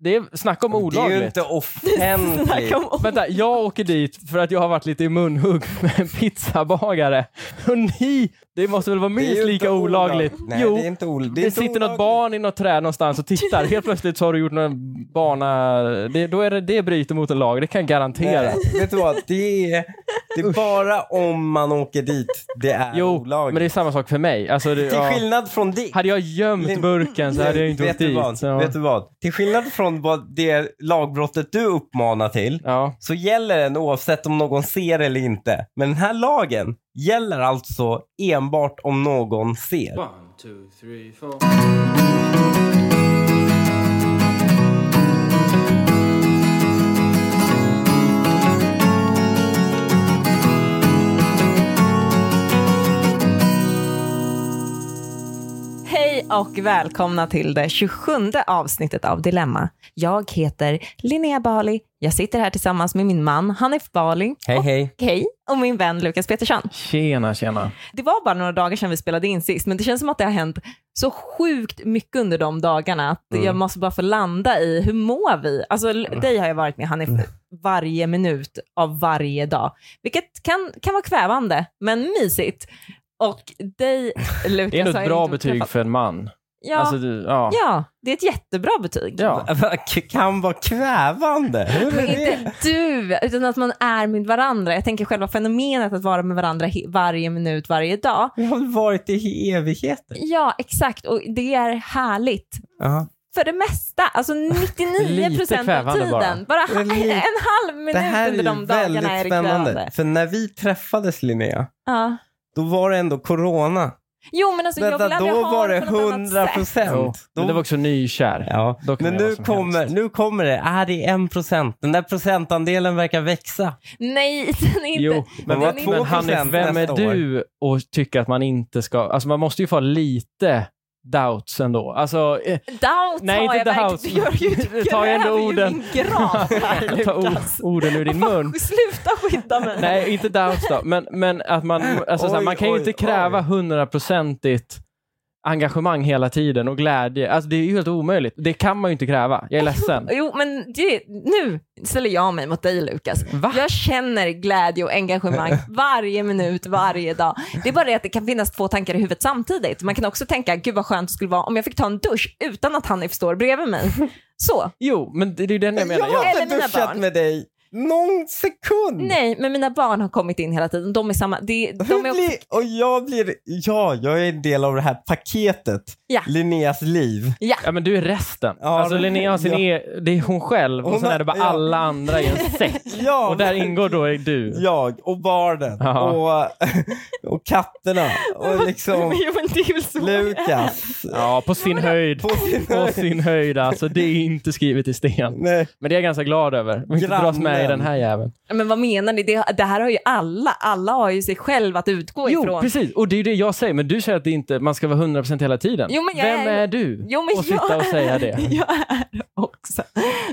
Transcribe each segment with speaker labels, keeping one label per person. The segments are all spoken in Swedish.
Speaker 1: Det är snack om
Speaker 2: Det är
Speaker 1: olagligt.
Speaker 2: ju inte offentligt.
Speaker 3: Snacka om om.
Speaker 1: Vänta, jag åker dit för att jag har varit lite i munhugg med en pizzabagare. Och ni, det måste väl vara
Speaker 2: Det är ju
Speaker 1: minst
Speaker 2: inte
Speaker 1: lika olagligt?
Speaker 2: olagligt. Nej,
Speaker 1: jo,
Speaker 2: det är inte ol- det är
Speaker 1: det
Speaker 2: inte
Speaker 1: sitter något
Speaker 2: olagligt.
Speaker 1: barn i något träd någonstans och tittar. Helt plötsligt så har du gjort någon bana... Det, då är det, det bryter mot en lag, det kan jag garantera.
Speaker 2: Nej, vet du vad? Det är, det är bara om man åker dit det är
Speaker 1: Jo,
Speaker 2: olagligt.
Speaker 1: men det är samma sak för mig. Alltså, det,
Speaker 2: Till
Speaker 1: ja.
Speaker 2: skillnad från det.
Speaker 1: Hade jag gömt
Speaker 2: Lin-
Speaker 1: burken så hade jag inte
Speaker 2: vet
Speaker 1: åkt
Speaker 2: du
Speaker 1: dit.
Speaker 2: Vad,
Speaker 1: så-
Speaker 2: Vet du vad? Till skillnad från vad det lagbrottet du uppmanar till
Speaker 1: Ja.
Speaker 2: så gäller den oavsett om någon ser eller inte. Men den här lagen gäller alltså enbart om någon ser.
Speaker 4: One, two, three, four.
Speaker 3: Hej och välkomna till det 27 avsnittet av Dilemma. Jag heter Linnea Bali. Jag sitter här tillsammans med min man Hanif Bali.
Speaker 2: Hej hej.
Speaker 3: Och, hej. Och min vän Lukas Petersson.
Speaker 1: Tjena, tjena.
Speaker 3: Det var bara några dagar sedan vi spelade in sist, men det känns som att det har hänt så sjukt mycket under de dagarna att
Speaker 1: Mm.
Speaker 3: jag måste bara få landa i hur mår vi? Alltså l- dig har jag varit med Hanif
Speaker 1: Mm.
Speaker 3: varje minut av varje dag, vilket kan, kan vara kvävande, men mysigt. Och dig Lukas
Speaker 1: Det är ändå
Speaker 3: har
Speaker 1: ett
Speaker 3: Alltså, jag
Speaker 1: bra
Speaker 3: inte
Speaker 1: betyg
Speaker 3: träffat.
Speaker 1: för en man.
Speaker 3: Ja,
Speaker 1: Alltså, du, ja.
Speaker 3: ja, det är ett jättebra betyg.
Speaker 1: Ja.
Speaker 2: Kan vara kvävande. Hur är
Speaker 3: Men
Speaker 2: det?
Speaker 3: inte du, utan att man är med varandra. Jag tänker själva fenomenet att vara med varandra he- varje minut, varje dag.
Speaker 2: Vi har väl varit i evigheter?
Speaker 3: Ja, exakt. Och det är härligt.
Speaker 2: Ja.
Speaker 3: För det mesta, alltså 99
Speaker 1: Lite
Speaker 3: procent av
Speaker 1: kvävande
Speaker 3: tiden.
Speaker 1: bara.
Speaker 2: Det
Speaker 3: Bara,
Speaker 2: är
Speaker 3: en
Speaker 2: lite-
Speaker 3: halv minut
Speaker 2: Det här är
Speaker 3: under
Speaker 2: ju
Speaker 3: de dagarna är
Speaker 2: väldigt
Speaker 3: det
Speaker 2: spännande.
Speaker 3: kvävande.
Speaker 2: För när vi träffades Linnea,
Speaker 3: Ja.
Speaker 2: då var det ändå corona.
Speaker 3: Jo, men alltså jag vill
Speaker 2: Vänta,
Speaker 3: aldrig
Speaker 2: då
Speaker 3: ha
Speaker 2: var det
Speaker 3: på något annat
Speaker 2: 100
Speaker 3: sätt.
Speaker 1: Jo.
Speaker 2: procent.
Speaker 1: Men det var också nykär.
Speaker 2: Ja,
Speaker 1: Då kan
Speaker 2: men
Speaker 1: man göra
Speaker 2: nu
Speaker 1: vad som
Speaker 2: kommer,
Speaker 1: helst.
Speaker 2: nu kommer det. Ah, det är en procent. Den där procentandelen verkar växa.
Speaker 3: Nej, den är inte...
Speaker 1: Jo, men,
Speaker 2: Men
Speaker 3: den
Speaker 2: vad
Speaker 3: är
Speaker 2: två
Speaker 3: inte-
Speaker 1: men Hanif,
Speaker 2: 2%
Speaker 1: vem är
Speaker 2: nästa
Speaker 1: du och tycker att man inte ska... Alltså man måste ju få lite doubts ändå. Alltså, eh,
Speaker 3: Doubt
Speaker 1: Nej,
Speaker 3: har
Speaker 1: inte
Speaker 3: jag
Speaker 1: doubt.
Speaker 3: verkligen. Du gör ju,
Speaker 1: Nu tar jag ändå
Speaker 3: gräver ju
Speaker 1: orden.
Speaker 3: min grav här,
Speaker 1: ta ord,
Speaker 3: Lukas.
Speaker 1: orden ur din mun.
Speaker 3: Sluta skydda mig.
Speaker 1: Nej, inte doubts då. Men, men att man... Alltså, så här,
Speaker 2: Oj,
Speaker 1: man kan ju
Speaker 2: oj,
Speaker 1: inte kräva
Speaker 2: oj.
Speaker 1: hundraprocentigt engagemang hela tiden och glädje. Alltså det är ju helt omöjligt. Det kan man ju inte kräva. Jag är ledsen.
Speaker 3: Jo, men det, nu ställer jag mig mot dig Lukas.
Speaker 1: Va?
Speaker 3: Jag känner glädje och engagemang varje minut, varje dag. Det är bara det att det kan finnas två tankar i huvudet samtidigt. Man kan också tänka, gud vad skönt det skulle vara om jag fick ta en dusch utan att Hanif står bredvid mig. Så,
Speaker 1: Jo, men det det är ju den jag menar.
Speaker 2: Jag har
Speaker 1: Jag,
Speaker 3: Eller
Speaker 2: inte
Speaker 3: mina
Speaker 2: duschat
Speaker 3: barn.
Speaker 2: med dig någon sekund.
Speaker 3: nej, men mina barn har kommit in hela tiden. De är samma, de,
Speaker 2: Hur
Speaker 3: de är,
Speaker 2: blir, och jag blir, ja, jag är en del av det här paketet.
Speaker 3: Ja.
Speaker 2: Linneas liv.
Speaker 3: ja.
Speaker 1: ja, men du är resten.
Speaker 2: Ja,
Speaker 1: alltså
Speaker 2: det-
Speaker 1: Linnea har sin
Speaker 2: ja.
Speaker 1: e- det är hon själv och
Speaker 2: Hon
Speaker 1: sen
Speaker 2: har-
Speaker 1: är det bara
Speaker 2: ja.
Speaker 1: alla andra i en säck.
Speaker 2: Ja,
Speaker 1: Och där
Speaker 2: men-
Speaker 1: ingår då är du.
Speaker 2: Jag och barnen
Speaker 1: Ja.
Speaker 2: och, och katterna och liksom
Speaker 3: Jo, men det är väl så.
Speaker 2: Lukas.
Speaker 1: Ja, på sin höjd.
Speaker 2: På sin
Speaker 1: På sin höjd alltså. Det är inte skrivet i sten.
Speaker 2: Nej.
Speaker 1: Men det är jag ganska glad över. Vi inte
Speaker 2: Grannen.
Speaker 1: dras med i den här jäveln.
Speaker 3: Men vad menar ni? Det, det här har ju alla. Alla har ju sig själv att utgå
Speaker 1: Jo,
Speaker 3: ifrån.
Speaker 1: precis. Och det är ju det jag säger. Men du säger att det inte, man ska vara 100% hela tiden.
Speaker 3: Jo, men jag
Speaker 1: Vem
Speaker 3: är-
Speaker 1: är du?
Speaker 3: Jo, men
Speaker 1: och sitta
Speaker 3: jag
Speaker 1: och säga det.
Speaker 3: Är, jag är också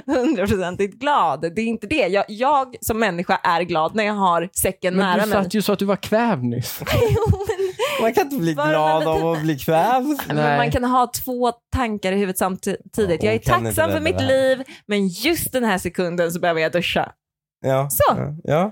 Speaker 3: hundraprocentigt glad. Det är inte det. Jag, jag som människa är glad när jag har säcken
Speaker 1: Men
Speaker 3: nära
Speaker 1: du
Speaker 3: mig.
Speaker 1: satt ju så att du var kvävd nyss.
Speaker 3: Jo, men,
Speaker 2: Man kan inte bli
Speaker 3: Bara
Speaker 2: glad
Speaker 3: man-
Speaker 2: av att bli kvävd.
Speaker 1: Nej.
Speaker 3: men man kan ha två tankar i huvudet samtidigt. Jag är
Speaker 2: Hon kan inte
Speaker 3: tacksam
Speaker 2: det
Speaker 3: för mitt
Speaker 2: där.
Speaker 3: liv, men just den här sekunden så behöver jag duscha.
Speaker 2: Ja.
Speaker 3: Så.
Speaker 2: Ja.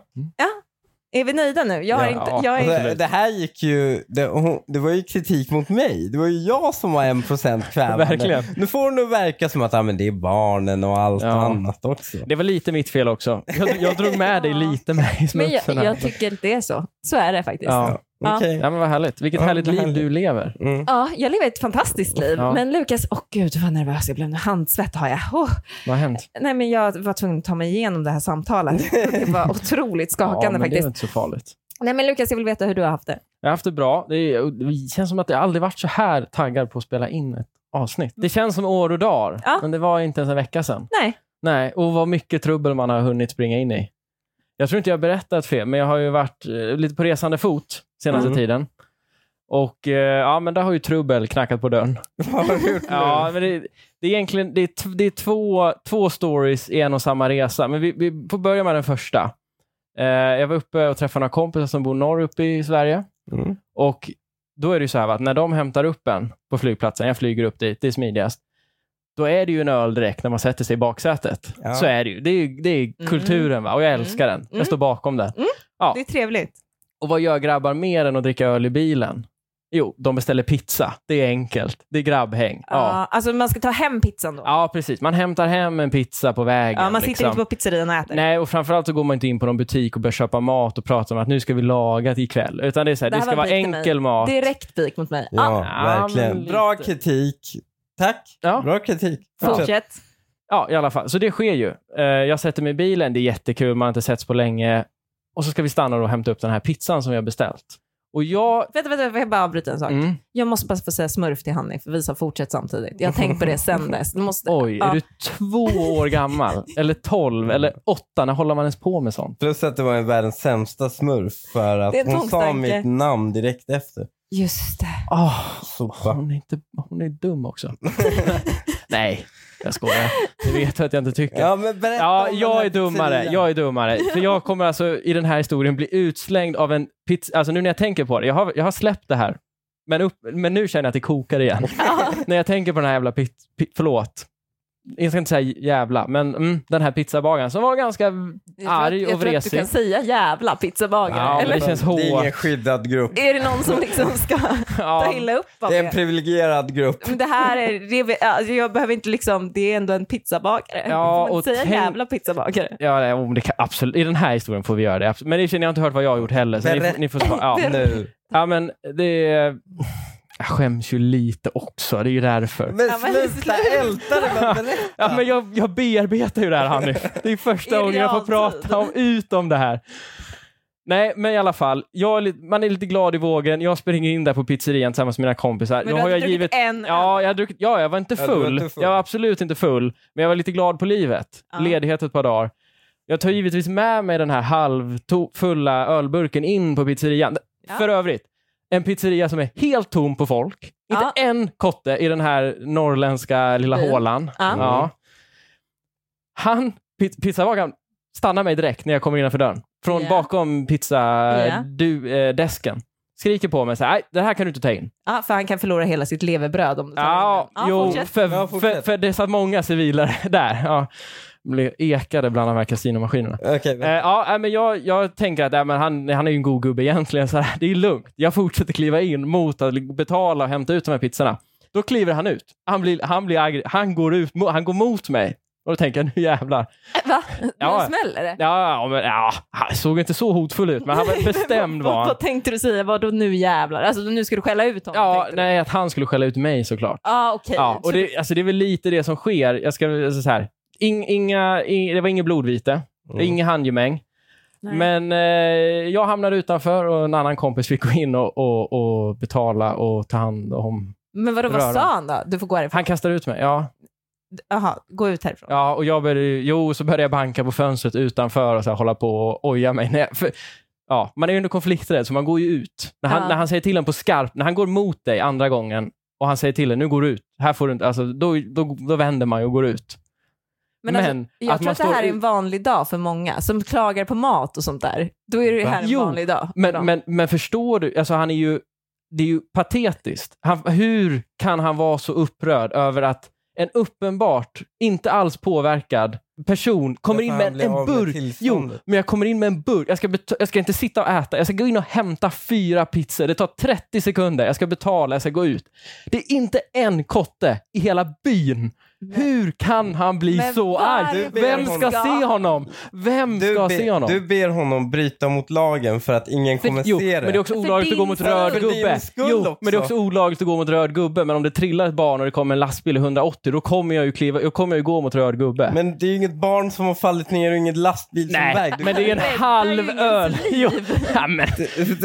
Speaker 3: Är vi nöjda nu? Jag,
Speaker 1: Ja,
Speaker 3: är inte, jag, är,
Speaker 2: Alltså, det här gick ju, det, hon, det var ju kritik mot mig. Det var ju jag som var en procent kvävande.
Speaker 1: Verkligen.
Speaker 2: Nu får hon nog verka som att ah, men det är barnen och allt
Speaker 1: Ja.
Speaker 2: annat också.
Speaker 1: Det var lite mitt fel också. Jag, jag drog med dig lite med i
Speaker 3: men jag,
Speaker 1: smutsen här.
Speaker 3: jag tycker att det är så. Så är det faktiskt. Ja.
Speaker 1: ja.
Speaker 3: Ja.
Speaker 2: Okej.
Speaker 1: ja, men vad härligt. Vilket
Speaker 2: Ja,
Speaker 1: härligt
Speaker 2: vad
Speaker 1: liv
Speaker 2: härligt.
Speaker 1: du lever.
Speaker 2: Mm.
Speaker 3: jag lever ett fantastiskt liv.
Speaker 1: Ja.
Speaker 3: Men Lukas, åh gud vad nervös jag blev nu. Handsvett har jag. Åh.
Speaker 1: Vad har hänt?
Speaker 3: Nej, men jag var tvungen att ta mig igenom det här samtalet. Det var otroligt
Speaker 1: ja, men
Speaker 3: skakande
Speaker 1: det är
Speaker 3: faktiskt.
Speaker 1: väl inte så farligt.
Speaker 3: Nej, men Lukas, jag vill veta hur du har haft det.
Speaker 1: Jag har haft det bra. Det, är, och det känns som att jag aldrig varit så här taggad på att spela in ett avsnitt. Det känns som år och dagar,
Speaker 3: Ja.
Speaker 1: men det var inte ens en vecka sedan.
Speaker 3: Nej.
Speaker 1: Nej, och vad mycket trubbel man har hunnit springa in i. Jag tror inte jag har berättat fel, men jag har ju varit eh, lite på resande fot senaste
Speaker 2: Mm.
Speaker 1: tiden. Och eh, ja, men där har ju trubbel knackat på dörren.
Speaker 2: Vad har du gjort nu?
Speaker 1: Ja, men det, det är egentligen det är, t- det är två, två stories i en och samma resa, men vi, vi får börja med den första. Eh, jag var uppe och träffade några kompisar som bor norr uppe i Sverige.
Speaker 2: Mm.
Speaker 1: Och då är det ju så här va, att när de hämtar upp en på flygplatsen, jag flyger upp dit, det är smidigast. då är det ju en öl direkt när man sätter sig i baksätet.
Speaker 2: Ja.
Speaker 1: Så är det ju. Det är, ju- det är kulturen va? och jag älskar den.
Speaker 3: Mm.
Speaker 1: Jag står bakom den. Ja.
Speaker 3: Det är trevligt.
Speaker 1: Och vad gör grabbar mer än att dricka öl i bilen? Jo, de beställer pizza. Det är enkelt. Det är grabbhäng. Ja,
Speaker 3: Ja. Alltså man ska ta hem pizzan då.
Speaker 1: ja precis. Man hämtar hem en pizza på vägen.
Speaker 3: Ja, man sitter
Speaker 1: liksom.
Speaker 3: inte på pizzerian och äter.
Speaker 1: Nej, och framförallt så går man inte in på någon butik och börjar köpa mat och prata om att nu ska vi laga ikväll. Utan det är så här,
Speaker 3: Det
Speaker 1: det,
Speaker 3: här
Speaker 1: ska
Speaker 3: var
Speaker 1: vara
Speaker 3: en bit till mig.
Speaker 1: enkel mat.
Speaker 3: Direkt pik mot mig. Ah,
Speaker 2: Ja,
Speaker 1: Ja, men
Speaker 2: verkligen.
Speaker 1: lite.
Speaker 2: Bra kritik. Tack.
Speaker 1: Ja.
Speaker 2: Bra kritik.
Speaker 3: Ja, fortsätt.
Speaker 1: Ja, i alla fall. Så det sker ju. Eh, Jag sätter mig i bilen, det är jättekul, man har inte setts på länge. Och så ska vi stanna och hämta upp den här pizzan som vi har beställt. Och jag...
Speaker 3: Vänta, vänta, vänta, jag bara avbryta en sak.
Speaker 1: Mm.
Speaker 3: Jag måste bara få säga smurf till Hanif, för vi sa fortsätt samtidigt. Jag har tänkt på det sen dess. Du måste...
Speaker 1: Oj,
Speaker 3: Ja.
Speaker 1: är du två år gammal? eller tolv? Eller åtta? När håller man ens på med sånt?
Speaker 2: Plus att det var en världens sämsta smurf för att
Speaker 3: Det är en
Speaker 2: hon sa
Speaker 3: tvångstanke.
Speaker 2: mitt namn direkt efter.
Speaker 3: Just det.
Speaker 1: Ah,
Speaker 2: Sopa.
Speaker 1: hon, är inte, hon är dum också. Nej, jag skojar. Du vet att jag inte tycker.
Speaker 2: Ja, men berätta
Speaker 1: Ja,
Speaker 2: om den
Speaker 1: jag
Speaker 2: här
Speaker 1: är dummare.
Speaker 2: pizzerian.
Speaker 1: Jag är dummare. För jag kommer alltså i den här historien bli utslängd av en pizza... Alltså nu när jag tänker på det, jag har, jag har släppt det här. Men, upp, men nu känner jag att det kokar igen. när jag tänker på den här jävla pit, pit, Förlåt. Jag ska inte säga jävla, men mm, den här pizzabagaren som var ganska arg
Speaker 3: jag
Speaker 1: och
Speaker 3: tror att du
Speaker 1: vresig.
Speaker 3: kan säga jävla pizzabagare.
Speaker 1: Ja, men
Speaker 3: Eller
Speaker 1: det känns hårt.
Speaker 2: Det är ingen skyddad grupp.
Speaker 3: är det någon som liksom ska ta
Speaker 1: Ja,
Speaker 3: illa upp av
Speaker 2: Det är
Speaker 3: det?
Speaker 2: en privilegierad grupp.
Speaker 3: Men det här är, det, är- alltså, jag behöver inte liksom, det är ändå en pizzabagare.
Speaker 1: Ja,
Speaker 3: Får man
Speaker 1: och
Speaker 3: inte säga
Speaker 1: tänk-
Speaker 3: jävla pizzabagare.
Speaker 1: ja det, om det kan, absolut. I den här historien får vi göra det. absolut. Men det känner jag har inte hört vad jag har gjort heller. Så ni, får- ni får svara. Ja.
Speaker 2: Nu.
Speaker 1: ja, men det... Jag skäms ju lite också. Det är ju därför.
Speaker 2: Men
Speaker 3: Ja, men
Speaker 2: sluta
Speaker 3: sluta.
Speaker 2: älta det, men berätta.
Speaker 1: Ja, men jag, jag bearbetar ju det här Hanif. Det är
Speaker 3: I
Speaker 1: första gången jag får
Speaker 3: realtid.
Speaker 1: prata om, ut om det här. Nej, men i alla fall. Jag är lite, man är lite glad i vågen. Jag springer in där på pizzerian tillsammans med mina kompisar.
Speaker 3: Men du
Speaker 1: har
Speaker 3: hade
Speaker 1: jag
Speaker 3: druckit
Speaker 1: givit...
Speaker 3: en
Speaker 1: Ja, jag, har druckit, ja, jag var inte
Speaker 2: Ja, du var
Speaker 1: full.
Speaker 2: inte full.
Speaker 1: Jag var absolut inte full, men jag var lite glad på livet.
Speaker 3: Ja.
Speaker 1: Ledighet ett par dagar. Jag tar givetvis med mig den här halvfulla ölburken in på pizzerian.
Speaker 3: Ja.
Speaker 1: För övrigt, en pizzeria som är helt tom på folk. Inte en kotte i den här norrländska lilla
Speaker 3: Fin.
Speaker 1: hålan.
Speaker 3: Ja.
Speaker 1: Ja. Mm. Han, pi- pizzabagaren, stannar mig direkt när jag kommer innanför dörren. Från
Speaker 3: Ja.
Speaker 1: bakom eh,
Speaker 3: Ja.
Speaker 1: pizzadesken. Skriker på mig så här, "Nej, det här kan du inte ta in.
Speaker 3: Ja, för han kan förlora hela sitt levebröd om du tar
Speaker 1: Ja,
Speaker 3: in den.
Speaker 1: jo,
Speaker 3: fortsätt.
Speaker 1: för,
Speaker 2: Ja, fortsätt.
Speaker 1: för, för det satt många civilare där. Ja. Blev ekade bland de här kasinomaskinerna.
Speaker 2: Okej,
Speaker 1: Eh, ja, nej, men jag, jag tänker att nej, men han, han är ju en god gubbe egentligen, så här, det är lugnt. Jag fortsätter kliva in mot att betala och hämta ut de här pizzorna. Då kliver han ut. Han, blir, han, blir aggr- han, går, ut, mo- han går mot mig. Och då tänker jag, nu jävlar.
Speaker 3: Äh, Va?
Speaker 1: Ja.
Speaker 3: Nu smäller det.
Speaker 1: Ja, ja, men, ja, han såg inte så hotfull ut, men han var bestämd var
Speaker 3: Vad,
Speaker 1: han.
Speaker 3: vad tänkte du säga? Vadå nu jävlar? Alltså nu ska du skälla ut honom?
Speaker 1: Ja,
Speaker 3: tänkte du.
Speaker 1: nej, att han skulle skälla ut mig såklart.
Speaker 3: Ja, okej.
Speaker 1: Ja, och
Speaker 3: Så-
Speaker 1: det, alltså, det är väl lite det som sker. Jag ska väl- alltså, så här. Ing, inga, ing, det var inget blodvite,
Speaker 2: Mm.
Speaker 1: inga handgemäng.
Speaker 3: Nej.
Speaker 1: Men eh, jag hamnade utanför och en annan kompis fick gå in och, och, och betala och ta hand om...
Speaker 3: Men vadå, vad
Speaker 1: Röra.
Speaker 3: sa han då? Du får gå härifrån.
Speaker 1: Han kastade ut mig, ja.
Speaker 3: Jaha, gå ut härifrån.
Speaker 1: ja och jag började, jo, så började jag banka på fönstret utanför och så här, hålla på och oja mig. Nej, för, ja, man är ju under konflikträdd, så man går ju ut. När han,
Speaker 3: Ja.
Speaker 1: när han säger till en på skarp, när han går mot dig andra gången och han säger till en, nu går du ut. Här får du inte, alltså, då, då, då vänder man ju och går ut.
Speaker 3: Men, alltså,
Speaker 1: men
Speaker 3: jag
Speaker 1: att
Speaker 3: tror
Speaker 1: man
Speaker 3: att det här
Speaker 1: står
Speaker 3: är
Speaker 1: i-
Speaker 3: en vanlig dag för många som klagar på mat och sånt där. Då är det här en
Speaker 1: Jo,
Speaker 3: vanlig dag. för
Speaker 1: Men,
Speaker 3: dem.
Speaker 1: men, men förstår du? Alltså han är ju, det är ju patetiskt. Han, hur kan han vara så upprörd över att en uppenbart inte alls påverkad person kommer in
Speaker 2: han
Speaker 1: med en,
Speaker 2: blir av med
Speaker 1: burk. Jo,
Speaker 2: tillståndet.
Speaker 1: men jag kommer in med en burk. Jag ska, bet- jag ska inte sitta och äta. Jag ska gå in och hämta fyra pizzor. Det tar 30 sekunder. Jag ska betala. Jag ska gå ut. Det är inte en kotte i hela byn. Hur kan han bli
Speaker 3: Men
Speaker 1: så arg?
Speaker 3: varför
Speaker 1: Vem ska
Speaker 3: ska-
Speaker 1: se honom? Vem
Speaker 2: Du,
Speaker 1: ska
Speaker 2: be-
Speaker 1: se honom?
Speaker 2: du ber honom bryta mot lagen för att ingen
Speaker 1: För-
Speaker 2: kommer
Speaker 1: jo,
Speaker 2: se det.
Speaker 1: Men det är också
Speaker 3: För
Speaker 1: olagligt
Speaker 3: din
Speaker 1: att gå mot
Speaker 3: skull.
Speaker 1: röd
Speaker 2: För din
Speaker 1: gubbe.
Speaker 2: skull
Speaker 1: Jo,
Speaker 2: också.
Speaker 1: men det är också olagligt att gå mot röd gubbe. Men om det trillar ett barn och det kommer en lastbil i 180, då kommer jag ju, kliva, då kommer jag ju gå mot röd gubbe. Men,
Speaker 2: Men det är ju inget barn som har fallit ner och inget lastbil som
Speaker 1: Nej,
Speaker 2: väg. Du,
Speaker 1: men det är en
Speaker 3: räddar ju
Speaker 1: halv
Speaker 3: ingens
Speaker 1: öl.
Speaker 3: liv.
Speaker 1: Jo, ja, men.
Speaker 2: du, du,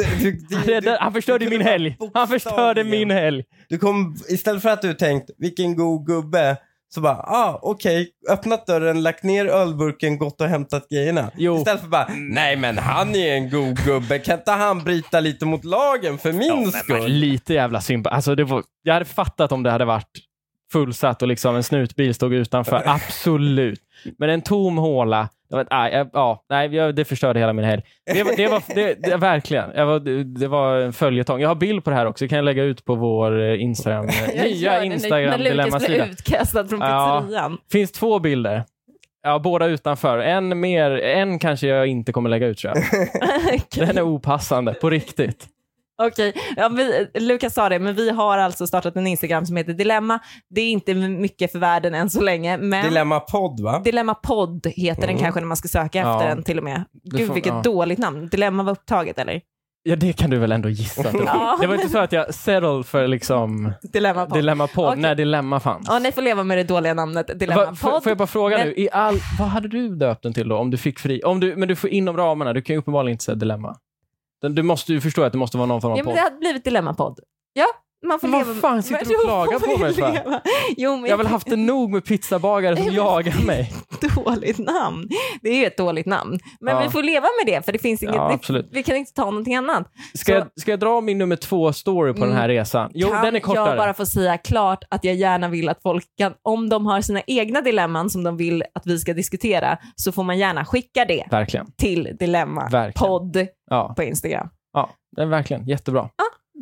Speaker 2: du,
Speaker 1: Det där, han förstörde
Speaker 2: du
Speaker 1: min
Speaker 2: kunde
Speaker 1: helg.
Speaker 2: bara
Speaker 1: Han förstörde
Speaker 2: bokstavligen-
Speaker 1: min helg.
Speaker 2: Du kom, istället för att du tänkt, vilken god gubbe, så bara, ah okej, öppnat dörren, lagt ner ölburken, gått och hämtat grejerna.
Speaker 1: Jo.
Speaker 2: Istället för bara,
Speaker 1: Mm.
Speaker 2: nej men han är en god gubbe, kan inte han bryta lite mot lagen för min
Speaker 1: Men
Speaker 2: skull?
Speaker 1: lite jävla synd. Alltså, det var, jag hade fattat om det hade varit fullsatt och liksom en snutbil stod utanför. Absolut. Men en tom håla. Jag vet, nej, jag, ja, nej, jag, det förstörde hela min helg. Det var, det var det, det, verkligen, jag var, det- det var en följetong. Jag har bild på det här också. Det kan jag lägga ut på vår eh, Instagram,
Speaker 3: Jag gör det
Speaker 1: nya
Speaker 3: nu När
Speaker 1: Instagram
Speaker 3: Lukas blir
Speaker 1: Dilemmasida.
Speaker 3: utkastad från
Speaker 1: Ja.
Speaker 3: pizzerian.
Speaker 1: finns två bilder. Ja, båda utanför. En mer, en kanske jag inte kommer lägga ut tror jag.
Speaker 3: Okej.
Speaker 1: Den är opassande, på riktigt.
Speaker 3: Okej, ja, vi- Lukas sa det, men vi har alltså startat en Instagram som heter Dilemma. Det är inte mycket för världen än så länge, men Dilemma,
Speaker 2: Dilemma podd va?
Speaker 3: podd heter den kanske när man ska söka
Speaker 1: Mm. Ja.
Speaker 3: efter den till och med. Gud
Speaker 1: får-
Speaker 3: vilket
Speaker 1: ja.
Speaker 3: dåligt namn. Dilemma var upptaget eller?
Speaker 1: Ja, det kan du väl ändå gissa. att det var.
Speaker 3: Ja.
Speaker 1: Det var inte så att jag settled för liksom
Speaker 3: Dilemma podd.
Speaker 1: dilemma på
Speaker 3: Okej.
Speaker 1: när dilemma fanns.
Speaker 3: ja, ni får leva med det dåliga namnet Dilemma
Speaker 1: Va, får,
Speaker 3: podd.
Speaker 1: får jag bara fråga
Speaker 3: Men-
Speaker 1: nu, i all, vad hade du döpt den till då? Om du fick fri, om du, men du får inom ramarna, du kan ju uppenbarligen inte säga dilemma. Den- Du måste ju förstå att det måste vara någon form av
Speaker 3: ja, men
Speaker 1: podd.
Speaker 3: det hade blivit Dilemma podd. Ja, man får
Speaker 1: Men vad
Speaker 3: leva
Speaker 1: fan sitter du och klagar på mig för?
Speaker 3: för? Jo, men
Speaker 1: Jag har väl haft det nog med pizzabagare som
Speaker 3: Nej, men-
Speaker 1: jagar mig.
Speaker 3: dåligt namn. Det är ju ett dåligt namn. Men
Speaker 1: Ja.
Speaker 3: vi får leva med det, för det finns inget...
Speaker 1: Ja,
Speaker 3: det-
Speaker 1: absolut.
Speaker 3: vi kan inte ta någonting annat.
Speaker 1: Ska,
Speaker 3: Så- Mm.
Speaker 1: jag, ska jag dra min nummer två-story på den här resan? Jo,
Speaker 3: kan
Speaker 1: den är kortare.
Speaker 3: jag bara få säga klart att jag gärna vill att folk kan, om de har sina egna dilemman som de vill att vi ska diskutera, så får man gärna skicka det
Speaker 1: Verkligen.
Speaker 3: till Dilemma
Speaker 1: Verkligen.
Speaker 3: podd
Speaker 1: Ja,
Speaker 3: på Instagram.
Speaker 1: ja den är verkligen jättebra.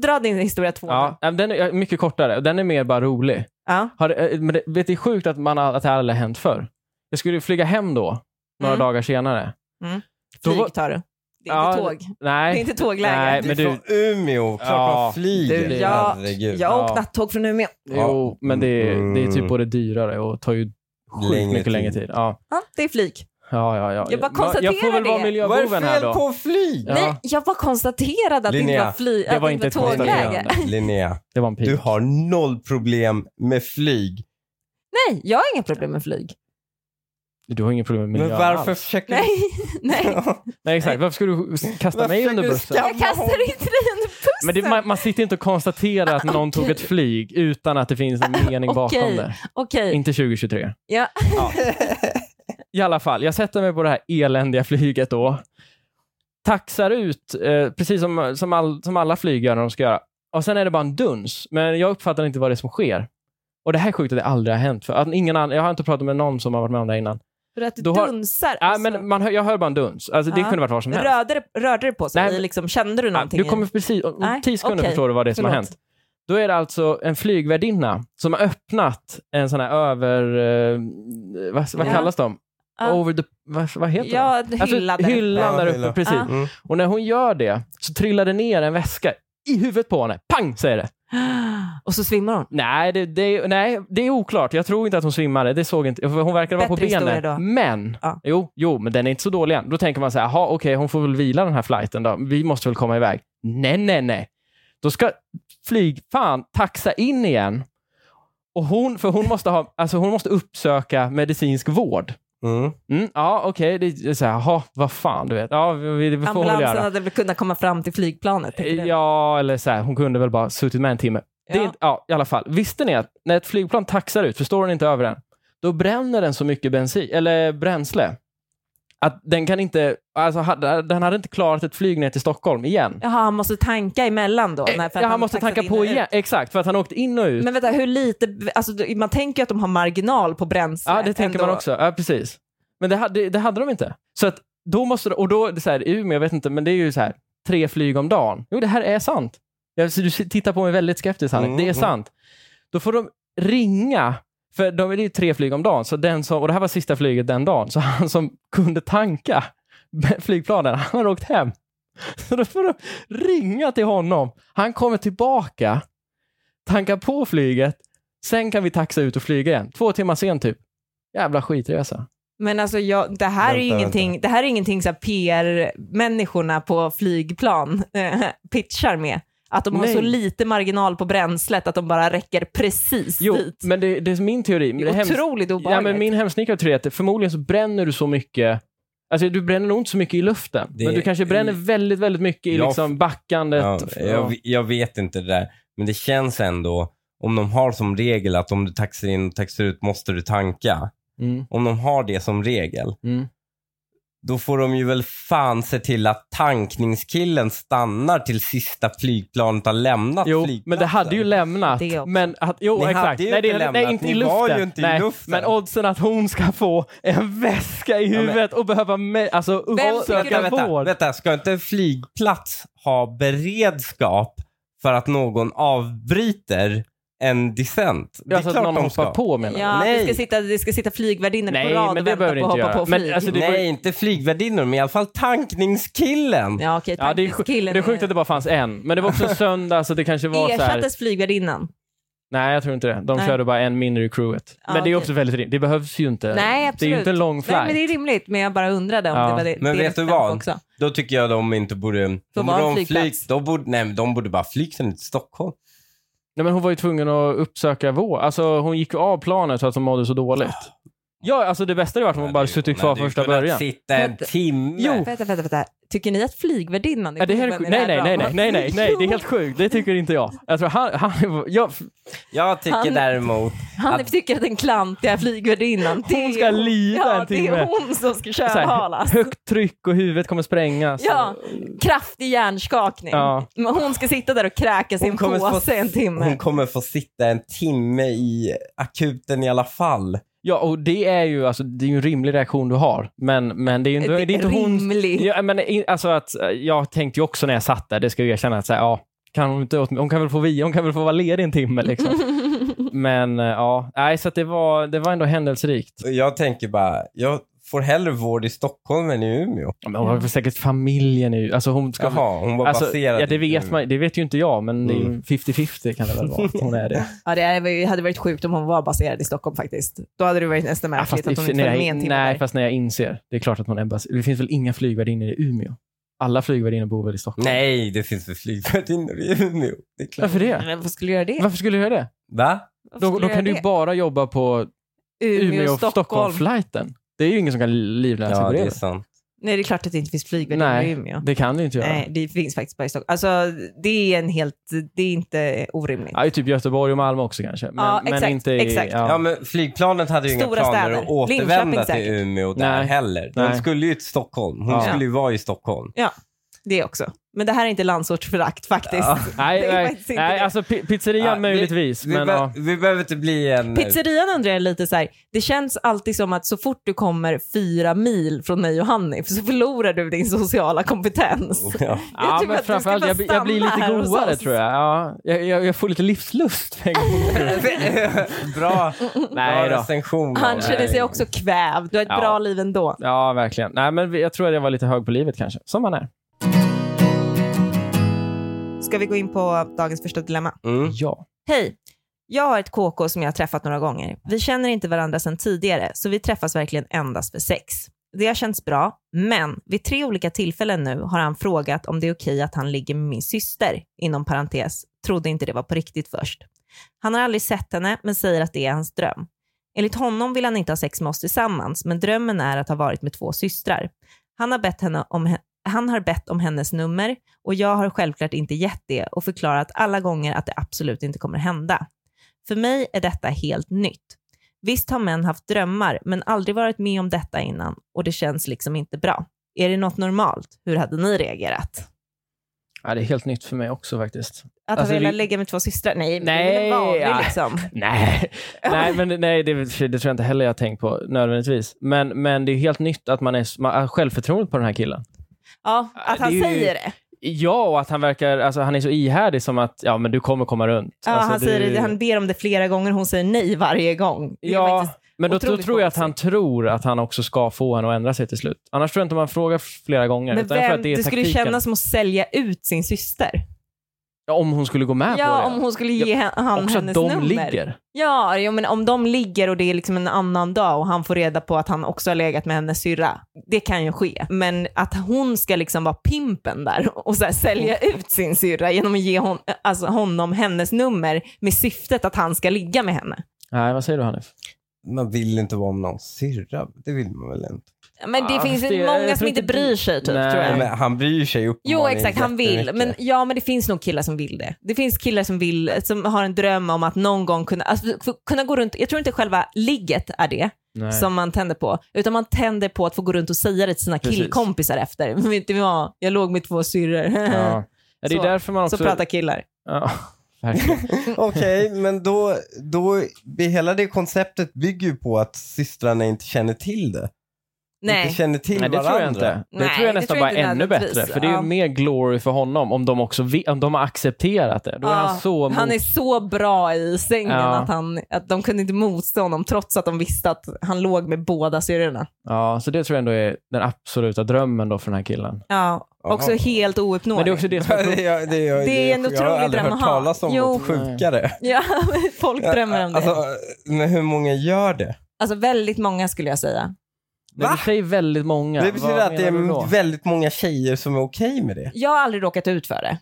Speaker 3: Dra din historia två.
Speaker 1: Ja, nej, men den är mycket kortare och den är mer bara rolig.
Speaker 3: Ja.
Speaker 1: Har, det- eh, men det, vet, det är sjukt att, man, har- att det här aldrig har hänt förr. Jag skulle ju flyga hem då, några
Speaker 3: Mm.
Speaker 1: dagar senare.
Speaker 3: Mm.
Speaker 1: Då var-
Speaker 3: Flyg tar du. Det är
Speaker 1: Ja,
Speaker 3: inte tåg.
Speaker 1: Nej,
Speaker 3: Det är inte tågläge.
Speaker 1: Nej,
Speaker 2: Det
Speaker 1: men du,
Speaker 2: är från Umeå, klart
Speaker 1: Ja.
Speaker 2: man flyger.
Speaker 1: Du,
Speaker 3: ja,
Speaker 2: Herregud.
Speaker 3: Jag har åkt
Speaker 1: Ja.
Speaker 3: nattåg från Umeå.
Speaker 1: jo, men det är, det är typ
Speaker 2: Mm.
Speaker 1: både dyrare och tar ju sjukt
Speaker 2: Längre
Speaker 1: mycket
Speaker 2: tid.
Speaker 1: längre tid. Ja.
Speaker 3: Ja, det är flyg.
Speaker 1: Ja, ja, ja.
Speaker 3: Jag bara
Speaker 1: jag får väl
Speaker 3: konstaterar
Speaker 1: vara
Speaker 3: det.
Speaker 2: Vad är
Speaker 1: miljöboven
Speaker 2: det
Speaker 1: här
Speaker 2: fel
Speaker 1: då.
Speaker 2: på flyg?
Speaker 1: Ja.
Speaker 3: Nej, jag bara konstaterade att det inte
Speaker 2: Linnea,
Speaker 3: var, fly,
Speaker 1: Det
Speaker 3: att
Speaker 1: var
Speaker 3: det
Speaker 1: inte ett
Speaker 3: inte var tågläge.
Speaker 1: konstaterande.
Speaker 2: Linnea,
Speaker 1: Det var en pik.
Speaker 2: du har noll problem med flyg.
Speaker 3: Nej, jag har inga problem med flyg.
Speaker 1: Du har inga problem med
Speaker 2: Men
Speaker 1: miljön
Speaker 2: varför
Speaker 1: alls.
Speaker 2: försöker
Speaker 3: Nej, nej.
Speaker 1: Nej, exakt. Varför ska du kasta mig
Speaker 2: Varför
Speaker 1: under
Speaker 2: du
Speaker 1: bussen?
Speaker 2: ska-
Speaker 3: Jag kastar inte dig under bussen.
Speaker 1: Men det, man, man sitter inte och konstaterar att någon tog ett flyg utan att det finns en mening bakom
Speaker 3: Okej.
Speaker 1: det.
Speaker 3: Okej,
Speaker 1: Inte 2023.
Speaker 3: Ja.
Speaker 1: I alla fall, jag sätter mig på det här eländiga flyget då. Taxar ut, eh, precis som, som, all, som alla flyg gör när de ska göra. Och sen är det bara en duns, men jag uppfattar inte vad det är som sker. Och det här är sjukt att det aldrig har hänt. För att ingen annan, jag har inte pratat med någon som har varit med om det här innan.
Speaker 3: för att det
Speaker 1: då har-
Speaker 3: dunsar.
Speaker 1: Nej,
Speaker 3: alltså.
Speaker 1: men man hör, jag hör bara en duns. Alltså, Det
Speaker 3: Ja.
Speaker 1: kunde varit var som helst.
Speaker 3: Rörde, det- rörde det på sig?
Speaker 1: Nej, men-
Speaker 3: liksom, kände du
Speaker 1: Ja,
Speaker 3: någonting?
Speaker 1: Du kommer precis, om
Speaker 3: Nej,
Speaker 1: tio sekunder
Speaker 3: okej.
Speaker 1: förstår du vad det är som har
Speaker 3: Förlåt.
Speaker 1: hänt. Då är det alltså en flygvärdinna som har öppnat en sån här över... Eh, vad vad
Speaker 3: Ja.
Speaker 1: kallas de?
Speaker 3: Ja.
Speaker 1: Over the... Vad, vad heter de?
Speaker 3: Ja,
Speaker 1: Alltså,
Speaker 3: hyllade.
Speaker 1: hyllan
Speaker 2: Ja,
Speaker 1: där uppe,
Speaker 2: hylla.
Speaker 1: precis.
Speaker 3: Ja.
Speaker 2: Mm.
Speaker 1: Och när hon gör det så trillar det ner en väska i huvudet på henne. Pang, säger det.
Speaker 3: Och så svimmar hon.
Speaker 1: Nej det, det, nej, det är oklart. Jag tror inte att hon svimmade. Det såg inte, för hon verkade vara på
Speaker 3: Bättre historia
Speaker 1: benen.
Speaker 3: då.
Speaker 1: Men,
Speaker 3: Ja.
Speaker 1: jo, jo, men den är inte så dålig än. Då tänker man så här, jaha, okej, hon får väl vila den här flighten då. Vi måste väl komma iväg. Nej, nej, nej. Då ska flyg, fan, taxa in igen. Och hon, för hon måste, ha, alltså hon måste uppsöka medicinsk vård.
Speaker 2: Mm.
Speaker 1: Mm, ja, okej, det det är så här, jaha, vad fan, du vet. Ja, vi, vi, vi får väl
Speaker 3: Ambulansen
Speaker 1: göra. Eh,
Speaker 3: hade väl kunnat komma fram till flygplanet? tänkte du?
Speaker 1: Ja, eller så här, hon kunde väl bara suttit med en timme. Ja. Det,
Speaker 3: Ja.
Speaker 1: är- ja, i alla fall. Visste ni att när ett flygplan taxar ut, förstår den inte över den, då bränner den så mycket bensin, eller bränsle att den kan inte, alltså hade, den hade inte klarat ett flyg ner till Stockholm igen.
Speaker 3: Jaha, han måste tanka emellan då?
Speaker 1: Eh,
Speaker 3: Nej, för att
Speaker 1: ja, han måste
Speaker 3: taxat
Speaker 1: tanka
Speaker 3: in
Speaker 1: på
Speaker 3: och ut.
Speaker 1: igen, exakt, för att han åkte in och ut.
Speaker 3: Men vänta, hur lite... Alltså, man tänker ju att de har marginal på bränsle.
Speaker 1: ja, det tänker
Speaker 3: ändå.
Speaker 1: man också. Ja, precis. Men det, ha- det, det hade de inte. Så att då måste, och då, det är så här, i Umeå, jag vet inte, men det är ju så här, tre flyg om dagen. Jo, det här är sant. Jag, så du s- tittar på mig väldigt skeptiskt, Hanne.
Speaker 2: Mm,
Speaker 1: Det är
Speaker 2: mm.
Speaker 1: sant. Då får de ringa, för de, det är ju tre flyg om dagen, så den som, och det här var sista flyget den dagen, så han som kunde tanka flygplanen, han har åkt hem. Så då får de ringa till honom. Han kommer tillbaka, tankar på flyget, sen kan vi taxa ut och flyga igen. Två timmar sen typ. Jävla skitresa.
Speaker 3: Men alltså, jag, det, här är ju
Speaker 2: Vänta,
Speaker 3: ingenting, det här är ingenting så här PR-människorna på flygplan eh, pitchar med. Att de
Speaker 1: Nej.
Speaker 3: har så lite marginal på bränslet att de bara räcker precis
Speaker 1: Jo,
Speaker 3: dit.
Speaker 1: men det, det är min teori. Men
Speaker 3: Det
Speaker 1: det
Speaker 3: är
Speaker 1: är hemskt-
Speaker 3: otroligt
Speaker 1: ja,
Speaker 3: obehagligt.
Speaker 1: men min hemsnickrade teori är att förmodligen så bränner du så mycket Alltså du bränner nog inte så mycket i luften,
Speaker 2: Det-
Speaker 1: men du kanske bränner väldigt, väldigt mycket i
Speaker 2: Jag-
Speaker 1: liksom backandet.
Speaker 2: Ja, jag, jag vet inte det där, men det känns ändå, om de har som regel att om du taxar in och taxar ut måste du tanka.
Speaker 1: Mm,
Speaker 2: Om de har det som regel,
Speaker 1: mm.
Speaker 2: då får de ju väl fan se till att tankningskillen stannar till sista flygplanet har lämnat
Speaker 1: Jo,
Speaker 2: flygplatsen.
Speaker 1: men det hade ju lämnat.
Speaker 3: Det också.
Speaker 1: Men att, jo,
Speaker 2: Ni hade
Speaker 1: exakt.
Speaker 2: ju
Speaker 1: nej, det,
Speaker 2: inte lämnat.
Speaker 1: nej, inte i
Speaker 2: Ni
Speaker 1: luften.
Speaker 2: var ju inte i
Speaker 1: nej,
Speaker 2: luften.
Speaker 1: Men oddsen att hon ska få en väska i
Speaker 2: men-
Speaker 1: huvudet och behöva me- alltså,
Speaker 3: Vem
Speaker 1: uppsöka
Speaker 3: tycker
Speaker 2: vänta,
Speaker 1: vård.
Speaker 2: vänta, ska inte en flygplats ha beredskap för att någon avbryter en descent? Det är
Speaker 1: alltså att
Speaker 2: klart
Speaker 1: någon
Speaker 2: de
Speaker 1: hoppar
Speaker 2: ska.
Speaker 1: på menar
Speaker 3: Ja,
Speaker 2: Nej.
Speaker 3: det ska sitta, det ska sitta flygvärdinnor
Speaker 1: Nej,
Speaker 3: på rad
Speaker 1: men
Speaker 3: och
Speaker 1: det
Speaker 3: vänta
Speaker 1: behöver
Speaker 3: på att
Speaker 1: inte
Speaker 3: hoppa
Speaker 1: göra.
Speaker 3: på
Speaker 1: Men
Speaker 3: flyg.
Speaker 1: alltså, det-
Speaker 2: Nej, inte flygvärdinnor, men i alla fall tankningskillen.
Speaker 3: Ja, okej.
Speaker 1: Ja, det, är sjukt, det
Speaker 3: tankningskillen
Speaker 1: är sjukt
Speaker 3: är-
Speaker 1: att det bara fanns en. Men det var också en söndag så det kanske var så här.
Speaker 3: Ersattes flygvärdinnan?
Speaker 1: Nej, jag tror inte det. De
Speaker 3: Nej.
Speaker 1: körde bara en mindre i crewet.
Speaker 3: Ja,
Speaker 1: men det är
Speaker 3: okej.
Speaker 1: också väldigt rimligt. Det behövs ju inte.
Speaker 3: Nej,
Speaker 1: det är
Speaker 3: absolut.
Speaker 1: ju inte en lång flight.
Speaker 3: Nej, men det är rimligt, men jag bara undrade om
Speaker 1: Ja.
Speaker 3: det var det.
Speaker 2: Men
Speaker 3: det
Speaker 2: vet du
Speaker 3: stämde
Speaker 2: vad?
Speaker 3: Också.
Speaker 2: Då tycker jag de inte borde... De
Speaker 3: vara
Speaker 2: borde,
Speaker 3: en
Speaker 2: ha en flyg,
Speaker 3: flygplats.
Speaker 2: de borde, nej, men de borde bara flyga till Stockholm.
Speaker 1: Nej, men hon var ju tvungen att uppsöka vård. Alltså, hon gick ju av planet för att hon mådde så dåligt. Ja, alltså det bästa hade varit om hon bara suttit kvar första början.
Speaker 2: sitta en
Speaker 3: Vänta.
Speaker 2: timme.
Speaker 1: Jo.
Speaker 3: Vänta, vänta, vänta. Tycker ni att flygvärdinnan
Speaker 1: Ja, det är helt
Speaker 3: boven
Speaker 1: sjukt.
Speaker 3: i det
Speaker 1: Nej,
Speaker 3: här
Speaker 1: nej, nej, nej,
Speaker 3: dramat?
Speaker 1: nej, nej, nej, det är helt sjukt. Det tycker inte jag. Jag tror han, han jag, alltså,
Speaker 2: Jag tycker
Speaker 3: Han-
Speaker 2: däremot...
Speaker 3: Han tycker att den klantiga flygvärdinnan, det
Speaker 1: hon
Speaker 3: är
Speaker 1: ska
Speaker 3: hon-
Speaker 1: lida
Speaker 3: ja,
Speaker 1: en timme.
Speaker 3: det är hon som ska
Speaker 1: Så här,
Speaker 3: kölhalas.
Speaker 1: högt tryck och huvudet kommer sprängas.
Speaker 3: Ja, kraftig hjärnskakning.
Speaker 1: Ja.
Speaker 3: Men hon ska sitta där och kräkas i en
Speaker 2: kommer
Speaker 3: påse
Speaker 2: få-
Speaker 3: en timme.
Speaker 2: Hon kommer få sitta en timme i akuten i alla fall.
Speaker 1: Ja, och det är ju alltså, det är ju en rimlig reaktion du har. Men, men det är ju inte, det är inte hon...
Speaker 3: Rimlig.
Speaker 1: Ja, men, i- alltså att, eh, jag tänkte ju också när jag satt där, det ska jag erkänna, att så här, ja, kan hon, inte, åt- hon, kan väl få, vi- hon kan väl få vara ledig en timme. Liksom. men eh, ja, nej, så att det, var, det var ändå händelserikt.
Speaker 2: Och Jag tänker bara, jag får hellre vård i Stockholm än i Umeå.
Speaker 1: Ja, Men hon har säkert familjen nu. Alltså, hon ska,
Speaker 2: Jaha, hon var
Speaker 1: alltså,
Speaker 2: baserad
Speaker 1: ja, det,
Speaker 2: i
Speaker 1: vet
Speaker 2: Umeå.
Speaker 1: man, det vet ju inte jag, men det är ju
Speaker 2: Mm.
Speaker 1: 50-50 kan det väl vara. att Hon är det.
Speaker 3: Ja, det är- hade varit sjukt om hon var baserad i Stockholm faktiskt. Då hade det varit nästan
Speaker 1: Ja,
Speaker 3: märkligt att hon
Speaker 1: i-
Speaker 3: inte följde med
Speaker 1: nej,
Speaker 3: en timme
Speaker 1: nej,
Speaker 3: där.
Speaker 1: fast när jag inser. Det är klart att hon är bas- Det finns väl inga flygvärdinnor i Umeå? Alla flygvärdinnor bor väl i Stockholm?
Speaker 2: Nej, det finns väl flygvärdinnor i Umeå. Det är klart.
Speaker 1: Varför det?
Speaker 3: Men Varför skulle jag göra det?
Speaker 1: Varför skulle du göra det?
Speaker 2: Va?
Speaker 3: Varför
Speaker 1: Då,
Speaker 3: skulle
Speaker 1: då
Speaker 3: jag
Speaker 1: kan du
Speaker 3: göra
Speaker 1: ju bara jobba på
Speaker 3: det? Umeå, Stockholm.
Speaker 1: Umeå-Stockholm-flighten. Det är ju ingen som kan livnära sig
Speaker 2: Ja,
Speaker 1: på
Speaker 2: det är
Speaker 1: det.
Speaker 2: sant.
Speaker 3: Nej, det är klart att det inte finns flygvärdinnor i
Speaker 1: Nej,
Speaker 3: Umeå.
Speaker 1: det kan du inte göra.
Speaker 3: Nej, det finns faktiskt bara i Stockholm. Alltså, det är en helt... Det är inte orimligt.
Speaker 1: Ja, i typ Göteborg och Malmö också kanske. Men,
Speaker 3: Ja,
Speaker 1: men
Speaker 3: exakt,
Speaker 1: inte i,
Speaker 3: exakt.
Speaker 2: Ja.
Speaker 1: Ja.
Speaker 2: men flygplanet hade ju
Speaker 3: Stora
Speaker 2: inga planer
Speaker 3: städer.
Speaker 2: att återvända
Speaker 3: Linköping
Speaker 2: till
Speaker 3: säkert.
Speaker 2: Umeå där
Speaker 1: Nej.
Speaker 2: heller. Hon
Speaker 1: Nej.
Speaker 2: skulle ju till Stockholm. Hon
Speaker 1: Ja.
Speaker 2: skulle ju vara i Stockholm.
Speaker 3: Det också. Men det här är inte landsortsförakt faktiskt.
Speaker 2: Ja.
Speaker 1: Nej,
Speaker 3: Det är
Speaker 1: nej,
Speaker 3: faktiskt inte
Speaker 1: nej
Speaker 3: det.
Speaker 1: alltså pi- pizzerian
Speaker 2: Ja, vi-
Speaker 1: möjligtvis.
Speaker 2: Vi,
Speaker 1: men,
Speaker 2: be-
Speaker 1: ja.
Speaker 2: vi behöver inte bli en...
Speaker 3: Pizzerian undrar jag lite så här. Det känns alltid som att så fort du kommer fyra mil från mig och Hanif så förlorar du din sociala
Speaker 1: Oh.
Speaker 3: kompetens.
Speaker 2: eh, Ja.
Speaker 3: Jag
Speaker 1: Ja,
Speaker 3: tycker
Speaker 1: men
Speaker 3: att du
Speaker 1: framförallt,
Speaker 3: ska
Speaker 1: jag, blir- jag blir
Speaker 3: stanna
Speaker 1: lite
Speaker 3: här hos
Speaker 1: godare
Speaker 3: oss.
Speaker 1: tror jag. Ja, jag, jag. Jag får lite livslust. för en gångs skull.
Speaker 2: bra bra
Speaker 1: Nej då.
Speaker 2: recension.
Speaker 3: Han känner sig
Speaker 2: Nej.
Speaker 3: också kvävd. Du har ett
Speaker 1: Ja.
Speaker 3: bra liv ändå.
Speaker 1: Ja, verkligen. Nej, men vi- jag tror att jag var lite hög på livet kanske. Som man är.
Speaker 3: Ska vi gå in på dagens första dilemma?
Speaker 2: Mm.
Speaker 1: Ja.
Speaker 3: Hej! Jag har ett KK som jag har träffat några gånger. Vi känner inte varandra sedan tidigare, så vi träffas verkligen endast för sex. Det har känts bra, men vid tre olika tillfällen nu har han frågat om det är okej att han ligger med min syster, inom parentes, trodde inte det var på riktigt först. Han har aldrig sett henne, men säger att det är hans dröm. Enligt honom vill han inte ha sex med oss tillsammans, men drömmen är att ha varit med två systrar. Han har bett, henne om, he- han har bett om hennes nummer, och jag har självklart inte gett det och förklarat alla gånger att det absolut inte kommer hända. För mig är detta helt nytt. Visst har män haft drömmar, men aldrig varit med om detta innan och det känns liksom inte bra. Är det något normalt? Hur hade ni reagerat?
Speaker 1: ja, det är helt nytt för mig också faktiskt.
Speaker 3: Att
Speaker 1: Alltså,
Speaker 3: ha velat
Speaker 1: det-
Speaker 3: ligga med två systrar? Nej, men
Speaker 1: Nej,
Speaker 3: det är väl en vanlig
Speaker 1: ja.
Speaker 3: liksom.
Speaker 1: Nej, nej, men, nej det, det tror jag inte heller jag har tänkt på nödvändigtvis. Men, men det är helt nytt att man är man har självförtroendet på den här killen.
Speaker 3: Ja, att
Speaker 1: Det
Speaker 3: han
Speaker 1: är ju-
Speaker 3: säger det.
Speaker 1: Ja, och att han verkar, alltså, han är så ihärdig som att ja, men du kommer komma runt.
Speaker 3: Ja,
Speaker 1: alltså,
Speaker 3: han,
Speaker 1: du-
Speaker 3: säger det, han ber om det flera gånger, hon säger nej varje gång. Det är
Speaker 1: Ja,
Speaker 3: faktiskt-
Speaker 1: men då, då
Speaker 3: otroligt
Speaker 1: tror jag att
Speaker 3: konstigt.
Speaker 1: han tror att han också ska få henne att ändra sig till slut. Annars tror jag inte man frågar flera gånger.
Speaker 3: Men
Speaker 1: utan jag tror
Speaker 3: vem,
Speaker 1: att det är
Speaker 3: det skulle ju
Speaker 1: taktiken.
Speaker 3: kännas som att sälja ut sin syster.
Speaker 1: Ja, om hon skulle gå med på det.
Speaker 3: Ja, om hon skulle ge hen- han
Speaker 1: också
Speaker 3: hennes
Speaker 1: att de
Speaker 3: nummer.
Speaker 1: ligger.
Speaker 3: Ja, jo, men om de ligger och det är liksom en annan dag och han får reda på att han också har legat med hennes syrra, det kan ju ske. Men att hon ska liksom vara pimpen där och så här sälja ut sin syrra genom att ge hon, alltså honom hennes nummer med syftet att han ska ligga med henne.
Speaker 1: Nej, vad säger du Hanif?
Speaker 2: Man vill inte vara med någon syrra. Det vill man väl inte?
Speaker 3: Men det
Speaker 1: Ah,
Speaker 3: finns
Speaker 1: det-
Speaker 3: många
Speaker 1: jag
Speaker 3: som
Speaker 1: tror
Speaker 3: inte
Speaker 1: inte-
Speaker 3: bryr sig typ,
Speaker 1: Nej.
Speaker 3: tror jag.
Speaker 2: Men han bryr sig
Speaker 3: Jo,
Speaker 2: uppenbarligen
Speaker 3: exakt, han vill. Men,
Speaker 2: jättemycket.
Speaker 3: ja, men det finns nog killar som vill det. Det finns killar som vill, som har en dröm om att någon gång kunna, alltså, för- kunna gå runt, jag tror inte själva ligget är det,
Speaker 1: Nej.
Speaker 3: som man tänder på, utan man tänder på att få gå runt och säga det till sina
Speaker 1: Precis.
Speaker 3: killkompisar efter. Vet ni vad? Jag låg med två syrror.
Speaker 1: ja. Ja, Det är
Speaker 3: Så-
Speaker 1: därför man också...
Speaker 3: Så pratar killar.
Speaker 1: Ja, verkligen.
Speaker 2: Okej, men då, då, hela det konceptet bygger ju på att systrarna inte känner till det. Inte
Speaker 3: Nej.
Speaker 2: känner till
Speaker 1: Nej, det
Speaker 2: varandra.
Speaker 1: tror jag inte. Det
Speaker 3: Nej,
Speaker 1: tror jag
Speaker 3: det
Speaker 1: nästan
Speaker 3: tror jag
Speaker 1: bara
Speaker 3: inte
Speaker 1: ännu
Speaker 3: nödvändigtvis.
Speaker 1: bättre. För det är ju
Speaker 3: Ja.
Speaker 1: mer glory för honom om de också vi- om de har accepterat det. Då är
Speaker 3: Ja,
Speaker 1: han så mot...
Speaker 3: Han är så bra i sängen
Speaker 1: Ja.
Speaker 3: att, han, att de kunde inte motstå honom trots att de visste att han låg med båda syrrorna.
Speaker 1: Ja, så det tror jag ändå är den absoluta drömmen då för den här killen.
Speaker 3: Ja, också
Speaker 2: Jaha.
Speaker 3: helt ouppnåelig.
Speaker 1: Men det är också det som är
Speaker 2: det,
Speaker 1: problemet.
Speaker 2: är- det, är-
Speaker 3: Det är en
Speaker 2: Jag har
Speaker 3: otrolig
Speaker 2: aldrig
Speaker 3: dröm
Speaker 2: hört
Speaker 3: att ha.
Speaker 2: talas om
Speaker 3: Jo.
Speaker 2: något sjukare.
Speaker 3: Ja, folk drömmer om det. Alltså,
Speaker 2: Alltså, men hur många gör det?
Speaker 3: väldigt många skulle jag säga.
Speaker 1: Men
Speaker 2: Va?
Speaker 1: du säger väldigt många.
Speaker 2: det betyder
Speaker 1: Vad
Speaker 2: att det
Speaker 1: menar du då?
Speaker 2: är väldigt många tjejer som är okej med det.
Speaker 3: Jag har aldrig råkat ut för det.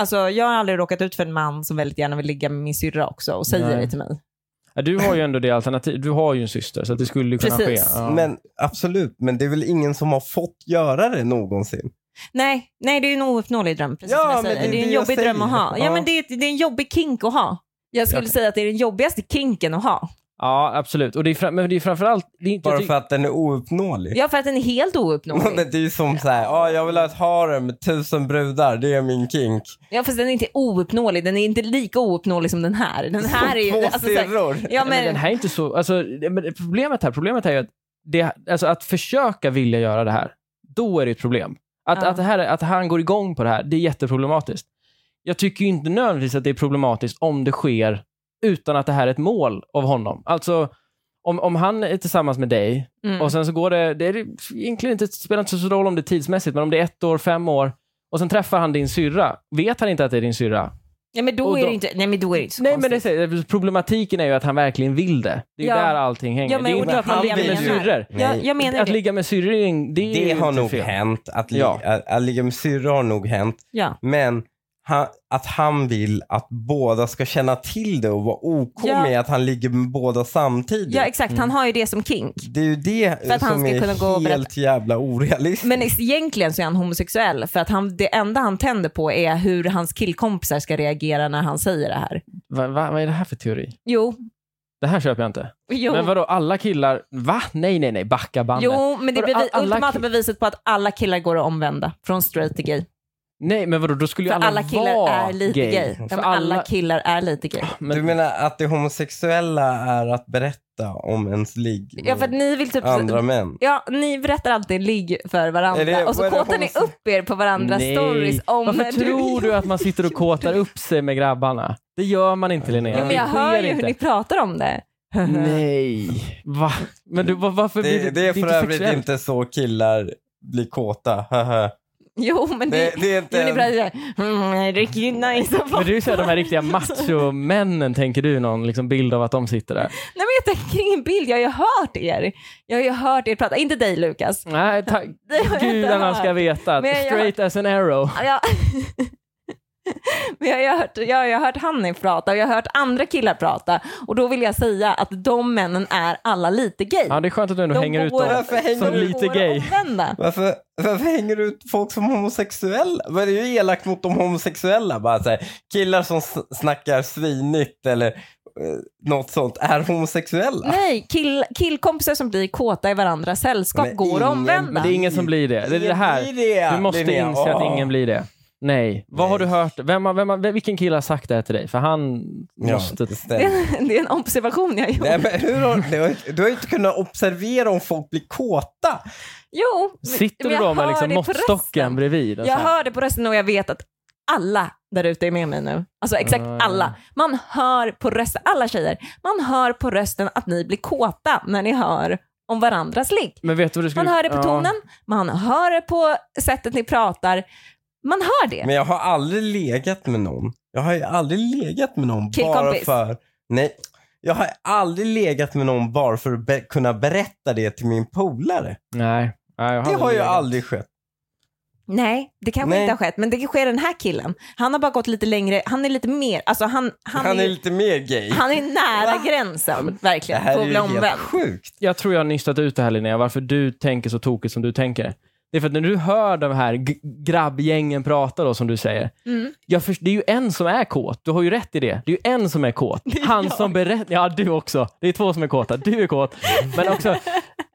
Speaker 3: Alltså, jag har aldrig råkat ut för en man som väldigt gärna vill ligga med min syrra också och säger
Speaker 1: Nej.
Speaker 3: det till mig.
Speaker 1: Ja, du har ju ändå det alternativ. Du har ju en syster, så att det skulle ju kunna
Speaker 3: Precis.
Speaker 1: ske. Ja.
Speaker 2: Men absolut, men det är väl ingen som har fått göra det någonsin?
Speaker 3: Nej, nej det är en ouppnåelig dröm, precis
Speaker 2: Ja,
Speaker 3: som jag
Speaker 2: men
Speaker 3: säger.
Speaker 2: det
Speaker 3: Det
Speaker 2: är det
Speaker 3: är, en
Speaker 2: jag
Speaker 3: jobbig
Speaker 2: säger.
Speaker 3: dröm att ha. Ja,
Speaker 2: Ja.
Speaker 3: men det är, det är en jobbig kink att ha. Jag skulle
Speaker 1: Okej.
Speaker 3: säga att det är den jobbigaste kinken att ha.
Speaker 1: ja, absolut. Och det är fram- men det är framförallt... Det är inte, jag
Speaker 2: Bara
Speaker 1: tycker-
Speaker 2: för att den är ouppnåelig?
Speaker 3: Ja, för att den är helt
Speaker 2: Men
Speaker 3: ouppnåelig.
Speaker 2: det är ju som så här, ah, jag vill ha ett harem med tusen brudar, det är min kink.
Speaker 3: Ja, fast den är inte ouppnåelig. Den är inte lika ouppnåelig som den här. Den här är ju...
Speaker 2: Två
Speaker 3: Alltså, så här-
Speaker 2: syrror.
Speaker 3: ja,
Speaker 1: Nej, men den
Speaker 3: men,
Speaker 1: här är inte så... Alltså, det- men det- problemet här, problemet här är ju att, det, alltså, att försöka vilja göra det här, då är det ett problem. Att,
Speaker 3: Ja.
Speaker 1: att, det här, att han går igång på det här, det är jätteproblematiskt. Jag tycker ju inte nödvändigtvis att det är problematiskt om det sker utan att det här är ett mål av honom. Alltså, om, om han är tillsammans med dig
Speaker 3: mm.
Speaker 1: och sen så går det, det är egentligen inte, spelar inte så stor roll om det är tidsmässigt, men om det är ett år, fem år och sen träffar han din syrra. Vet han inte att det är din syrra?
Speaker 3: ja, men,
Speaker 1: och
Speaker 3: då är
Speaker 1: då-
Speaker 3: det inte, nej, men då är det inte så
Speaker 1: Nej, men
Speaker 3: konstigt.
Speaker 1: det, är- problematiken är ju att han verkligen vill det. Det är ju
Speaker 3: Ja.
Speaker 1: där allting hänger.
Speaker 3: Ja, men
Speaker 1: det är ju
Speaker 3: och
Speaker 1: inte
Speaker 3: det
Speaker 1: att man
Speaker 2: han
Speaker 1: ligger med
Speaker 2: vill.
Speaker 1: syrror.
Speaker 3: Jag, jag menar
Speaker 1: Att
Speaker 3: det.
Speaker 1: ligga med syrror, det är
Speaker 2: Det
Speaker 1: ju
Speaker 2: har
Speaker 1: inte
Speaker 2: nog
Speaker 1: fel.
Speaker 2: hänt, att, li-
Speaker 1: Ja.
Speaker 2: att, att ligga med syrror har nog hänt.
Speaker 3: Ja.
Speaker 2: Men han, att han vill att båda ska känna till det och vara OK
Speaker 3: Ja.
Speaker 2: med att han ligger med båda samtidigt.
Speaker 3: ja, exakt. Han har ju det som kink.
Speaker 2: det är ju det
Speaker 3: För att han
Speaker 2: som
Speaker 3: ska
Speaker 2: är
Speaker 3: kunna gå och
Speaker 2: helt jävla orealistiskt.
Speaker 3: Men egentligen så är han homosexuell för att han, det enda han tänder på är hur hans killkompisar ska reagera när han säger det här.
Speaker 1: Va, va, vad är det här för teori?
Speaker 3: Jo,
Speaker 1: Det här köper jag inte.
Speaker 3: jo.
Speaker 1: Men vadå, alla killar, va? Nej, nej, nej, backa bandet.
Speaker 3: Jo, men det är
Speaker 1: Vadå,
Speaker 3: bevi-
Speaker 1: alla
Speaker 3: ultimata
Speaker 1: ki-
Speaker 3: beviset på att alla killar går att omvända från straight till gay.
Speaker 1: Nej, men vadå, då skulle ju
Speaker 3: För
Speaker 1: alla,
Speaker 3: alla, killar
Speaker 1: vara
Speaker 3: är lite gay. Ja,
Speaker 1: För
Speaker 3: men alla... killar är lite gay.
Speaker 1: men,
Speaker 2: Du menar att det homosexuella är att berätta om ens ligg
Speaker 3: Ja, för att
Speaker 2: med
Speaker 3: ni vill typ...
Speaker 2: andra män?
Speaker 3: Ja, ni berättar alltid ligg för varandra
Speaker 2: Är det-
Speaker 3: och
Speaker 2: vad
Speaker 3: så
Speaker 2: är det
Speaker 3: kåtar ni
Speaker 2: homose-
Speaker 3: upp er på varandras
Speaker 1: nej.
Speaker 3: stories om
Speaker 1: Varför
Speaker 3: när
Speaker 1: tror du att man sitter och kåtar upp sig med grabbarna? Det gör man inte, Linnea.
Speaker 3: Jo, men
Speaker 1: Det
Speaker 3: jag hör
Speaker 1: sker
Speaker 3: ju hur
Speaker 1: inte.
Speaker 3: ni pratar om det.
Speaker 1: Nej. Va? Men du, va- varför blir det,
Speaker 2: Det, det är för
Speaker 1: inte
Speaker 2: övrigt
Speaker 1: sexuellt?
Speaker 2: inte så killar blir kåta. haha.
Speaker 3: Jo, men det,
Speaker 2: det, det är
Speaker 3: Jo,
Speaker 2: inte...
Speaker 3: ni pratar såhär, mm, riktigt nice.
Speaker 1: Men det är ju så här, de här riktiga machomännen, tänker du någon liksom bild av att de sitter där?
Speaker 3: Nej men jag tänker ingen bild, jag har ju hört er. Jag har ju hört er prata, inte dig Lukas.
Speaker 1: Nej, tack.
Speaker 3: Det har jag inte
Speaker 1: Gudarna
Speaker 3: hört.
Speaker 1: ska veta att
Speaker 3: Men jag-
Speaker 1: straight as an arrow.
Speaker 3: Jag... Men jag har, ju hört, jag har ju hört Hanif prata och jag har hört andra killar prata och då vill jag säga att de männen är alla lite gay.
Speaker 1: Ja, det är skönt att du ändå
Speaker 3: de
Speaker 1: hänger ut
Speaker 3: går-
Speaker 1: dem.
Speaker 2: Varför hänger
Speaker 1: Som
Speaker 2: du-
Speaker 1: lite
Speaker 3: går
Speaker 1: gay.
Speaker 3: att omvända.
Speaker 2: Varför, varför hänger du ut folk som homosexuella? Vad är det ju elakt mot de homosexuella? Bara så här, killar som s- snackar svinigt eller eh, något sånt är homosexuella.
Speaker 3: Nej, kill, killkompisar som blir kåta i varandras sällskap
Speaker 2: Men
Speaker 3: går att
Speaker 2: ingen-
Speaker 1: Men
Speaker 3: omvända.
Speaker 1: det är ingen som blir det. Det är det här.
Speaker 2: Blir det,
Speaker 1: Du måste
Speaker 2: Linnea?
Speaker 1: inse att
Speaker 2: Åh.
Speaker 1: ingen blir det. Nej. Vad har du hört? Vem, har- vem, har- vilken kille har sagt det här till dig? För han
Speaker 2: Ja,
Speaker 1: måste...
Speaker 2: det
Speaker 3: Det
Speaker 2: stämmer.
Speaker 3: är, det är en observation jag har gjort.
Speaker 2: Nej, men hur har, du, har, ju- du har ju inte kunnat observera om folk blir kåta.
Speaker 3: Jo, men-
Speaker 1: Sitter
Speaker 3: men
Speaker 1: du
Speaker 3: jag
Speaker 1: då med
Speaker 3: hör
Speaker 1: liksom
Speaker 3: det på
Speaker 1: måttstocken
Speaker 3: rösten.
Speaker 1: bredvid? och så
Speaker 3: Jag
Speaker 1: här?
Speaker 3: hör det på rösten och jag vet att alla där ute är med mig nu. Alltså exakt
Speaker 1: Mm.
Speaker 3: alla. Man hör på rösten, alla tjejer, man hör på rösten att ni blir kåta när ni hör om varandras ligg.
Speaker 1: Men vet du vad du skulle...
Speaker 3: Man hör det på
Speaker 1: Ja.
Speaker 3: tonen, man hör det på sättet ni pratar. Man hör det.
Speaker 2: Men jag har aldrig legat med någon. Jag har ju aldrig legat med någon bara
Speaker 3: Killkompis.
Speaker 2: för... Nej. Jag har aldrig legat med någon bara för att be- kunna berätta det till min polare.
Speaker 1: Nej. Nej, jag
Speaker 2: Det har ju
Speaker 1: legat.
Speaker 2: aldrig skett.
Speaker 3: Nej, det kanske
Speaker 2: Nej.
Speaker 3: inte har skett, men det sker den här killen. Han har bara gått lite längre, han är lite mer, alltså han, han,
Speaker 2: Han, är, lite mer gay.
Speaker 3: han är nära
Speaker 2: Va?
Speaker 3: gränsen
Speaker 2: det
Speaker 3: verkligen,
Speaker 2: här
Speaker 3: på
Speaker 2: är
Speaker 3: att
Speaker 2: ju
Speaker 3: bli
Speaker 2: helt
Speaker 3: omvänd.
Speaker 2: sjukt.
Speaker 1: Jag tror jag har nystat ut det här Linnea, varför du tänker så tokigt som du tänker. Det är för att när du hör de här g- grabbgängen prata då, som du säger.
Speaker 3: Mm.
Speaker 1: Ja, för det är ju en som är kåt. Du har ju rätt i det. Det är ju en som är kåt.
Speaker 3: Det är
Speaker 1: Han
Speaker 3: jag.
Speaker 1: som berättar. Ja, du också. Det är två som är kåta. Du är kåt. Men också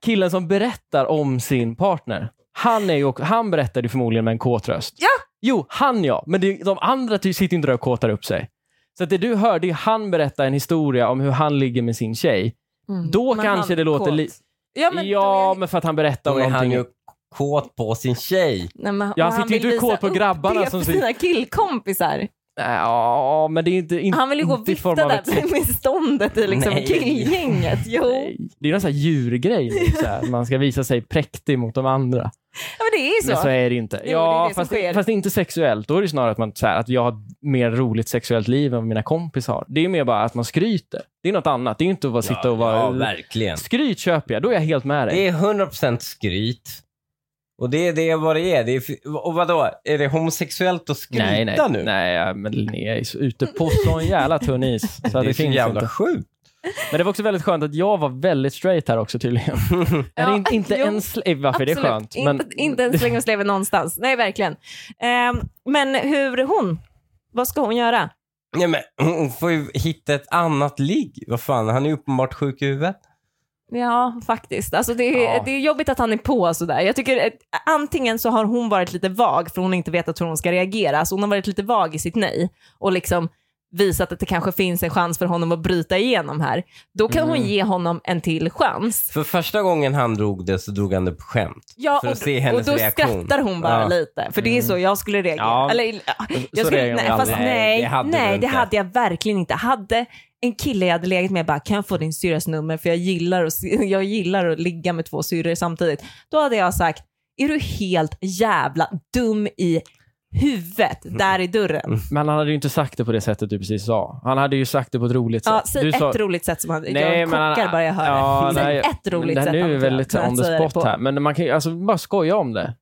Speaker 1: killen som berättar om sin partner. Han, är ju, också- han berättade ju förmodligen med en kåt röst.
Speaker 3: Ja.
Speaker 1: Jo, han ja. Men det, de andra ty- sitter ju inte där och kåtar upp sig. Så att det du hör, det är han berättar en historia om hur han ligger med sin tjej.
Speaker 3: Mm.
Speaker 1: Då
Speaker 3: Men
Speaker 1: kanske
Speaker 3: han
Speaker 1: det låter
Speaker 3: kåt.
Speaker 1: li-
Speaker 3: Ja,
Speaker 1: Ja, men,
Speaker 3: men, då är-
Speaker 1: för att han berättar
Speaker 2: Då
Speaker 1: om
Speaker 2: är han
Speaker 1: någonting.
Speaker 2: ju kåt på sin tjej.
Speaker 3: Nej, men,
Speaker 1: Ja,
Speaker 3: och
Speaker 1: han sitter ju
Speaker 3: vill
Speaker 1: inte
Speaker 3: visa
Speaker 1: kåt på
Speaker 3: upp
Speaker 1: grabbarna
Speaker 3: det
Speaker 1: som
Speaker 3: för
Speaker 1: sitter-
Speaker 3: sina killkompisar.
Speaker 1: Nej, Ja, men det är inte, inte
Speaker 3: Han vill ju gå och
Speaker 1: inte i
Speaker 3: vifta
Speaker 1: form av
Speaker 3: där
Speaker 1: ett sex-
Speaker 3: med ståndet i liksom
Speaker 2: Nej.
Speaker 3: killgänget. Jo,
Speaker 1: Nej, Det är ju en sån här djurgrej. nu, Så här. Man ska visa sig präktig mot de andra.
Speaker 3: ja, men det är ju
Speaker 1: Men
Speaker 3: så.
Speaker 1: så är det inte.
Speaker 3: det är
Speaker 1: ja,
Speaker 3: det som
Speaker 1: fast,
Speaker 3: sker.
Speaker 1: fast det är inte sexuellt. Då är det snarare att, man, så här, att jag har ett mer roligt sexuellt liv än vad mina kompisar har. Det är mer bara att man skryter. Det är något annat. Det är inte att bara sitta och
Speaker 2: Ja,
Speaker 1: vara...
Speaker 2: verkligen.
Speaker 1: skryt köper jag. Då är jag helt med dig.
Speaker 2: Det är 100% skryt. Och det är det vad det är. det är. f- Och vadå, är det homosexuellt att skryta
Speaker 1: nej, nej.
Speaker 2: nu?
Speaker 1: Nej, ja, men Linnea är så ute på sån jävla tunn is. Så att
Speaker 2: det
Speaker 1: det
Speaker 2: är så
Speaker 1: finns
Speaker 2: jävla
Speaker 1: inte.
Speaker 2: sjukt.
Speaker 1: Men det var också väldigt skönt att jag var väldigt straight här också tydligen.
Speaker 3: Ja,
Speaker 1: Eller in, inte
Speaker 3: jo,
Speaker 1: ens... eh, Varför är det
Speaker 3: Absolut.
Speaker 1: skönt? Men,
Speaker 3: Inte, inte en släng och sleven någonstans. Nej, verkligen. Ehm, men hur är hon? Vad ska hon göra?
Speaker 2: Nej, men hon får ju hitta ett annat ligg. Vad fan, han är ju uppenbart sjuk i huvudet.
Speaker 3: Ja, faktiskt. Alltså det, är,
Speaker 1: Ja.
Speaker 3: det är jobbigt att han är på sådär. Jag tycker att antingen så har hon varit lite vag för hon har inte vetat hur hon ska reagera. Så hon har varit lite vag i sitt nej och liksom visat att det kanske finns en chans för honom att bryta igenom här. Då kan hon ge honom en till chans.
Speaker 2: För första gången han drog det så drog han det på skämt.
Speaker 3: Ja,
Speaker 2: För att
Speaker 3: och,
Speaker 2: se hennes
Speaker 3: och då
Speaker 2: reaktion.
Speaker 3: skrattar hon bara
Speaker 2: Ja.
Speaker 3: lite. För det är så jag skulle reagera.
Speaker 1: Ja.
Speaker 3: Eller, ja, jag
Speaker 1: reagerar
Speaker 3: skulle,
Speaker 1: vi
Speaker 3: nej,
Speaker 1: alla.
Speaker 3: fast
Speaker 2: Nej, det
Speaker 3: nej,
Speaker 2: hade
Speaker 3: det hade,
Speaker 2: du
Speaker 3: nej,
Speaker 2: inte.
Speaker 3: det hade jag verkligen inte. Hade en kille jag hade legat med bara, kan jag få din syrras nummer för jag gillar, att, se- jag gillar att ligga med två syrror samtidigt. Då hade jag sagt, är du helt jävla dum i huvudet
Speaker 1: Mm.
Speaker 3: där i dörren?
Speaker 1: men han hade ju inte sagt det på det sättet du precis sa. Han hade ju sagt det på ett roligt sätt.
Speaker 3: Ja, säg
Speaker 1: du
Speaker 3: ett
Speaker 1: sa,
Speaker 3: roligt sätt som han,
Speaker 1: Nej,
Speaker 3: jag
Speaker 1: men han-
Speaker 3: kockar bara jag hör
Speaker 1: Ja,
Speaker 3: det. Säg
Speaker 1: nej,
Speaker 3: ett roligt
Speaker 1: det här
Speaker 3: sätt.
Speaker 1: Nu är
Speaker 3: han
Speaker 1: det väldigt så
Speaker 3: kan
Speaker 1: här on the
Speaker 3: säga det
Speaker 1: spot
Speaker 3: på.
Speaker 1: här, men man kan ju alltså, bara skoja om det.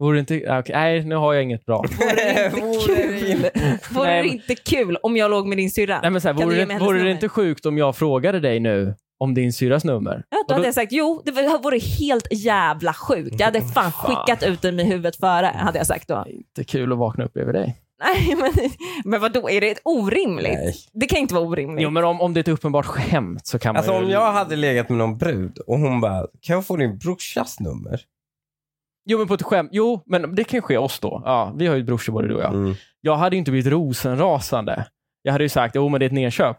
Speaker 1: Vore det inte, ja, okej, nej, nu har jag inget bra.
Speaker 3: Vore det inte kul? Vore
Speaker 1: Nej,
Speaker 3: det
Speaker 1: men-
Speaker 3: inte kul om jag låg med din syrra?
Speaker 1: Nej, men så här,
Speaker 3: Kan du
Speaker 1: vore
Speaker 3: ge
Speaker 1: det,
Speaker 3: mig hennes
Speaker 1: vore det
Speaker 3: nummer?
Speaker 1: inte sjukt om jag frågade dig nu om din syras nummer?
Speaker 3: Ja,
Speaker 1: Och
Speaker 3: då
Speaker 1: då-
Speaker 3: hade jag sagt jo, det var- vore helt jävla sjukt. Jag
Speaker 1: Mm,
Speaker 3: hade fan skickat ut den i huvudet före, hade jag sagt då.
Speaker 1: Inte kul att vakna upp över dig.
Speaker 3: Nej, men, men vadå, är det ett orimligt?
Speaker 2: Nej.
Speaker 3: Det kan inte vara orimligt.
Speaker 1: Jo, men om, om det är ett uppenbart skämt så kan man
Speaker 2: Alltså
Speaker 1: ju...
Speaker 2: om jag hade legat med någon brud och hon bara, kan jag få din brorsas nummer?
Speaker 1: Jo, men på ett skämt. Jo, men det kan ju ske oss då. Ja, vi har ju brorsor både du och jag.
Speaker 2: Mm.
Speaker 1: Jag hade ju inte blivit rosenrasande. Jag hade ju sagt, jo men det är ett nedköp.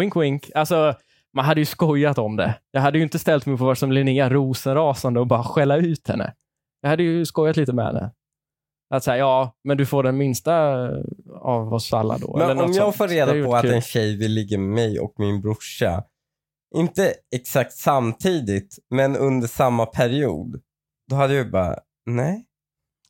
Speaker 1: Wink wink. Alltså, man hade ju skojat om det. Jag hade ju inte ställt mig på vad som Linnea rosenrasande och bara skälla ut henne. Jag hade ju skojat lite med henne. Att säga, ja, men du får den minsta eh, av oss alla då. eller
Speaker 2: Men
Speaker 1: något
Speaker 2: om jag
Speaker 1: sånt.
Speaker 2: får
Speaker 1: Det
Speaker 2: reda
Speaker 1: hade
Speaker 2: på
Speaker 1: varit
Speaker 2: att
Speaker 1: kul.
Speaker 2: en tjej vill ligga med mig och min brorsa, inte exakt samtidigt, men under samma period, då hade jag ju bara, nej.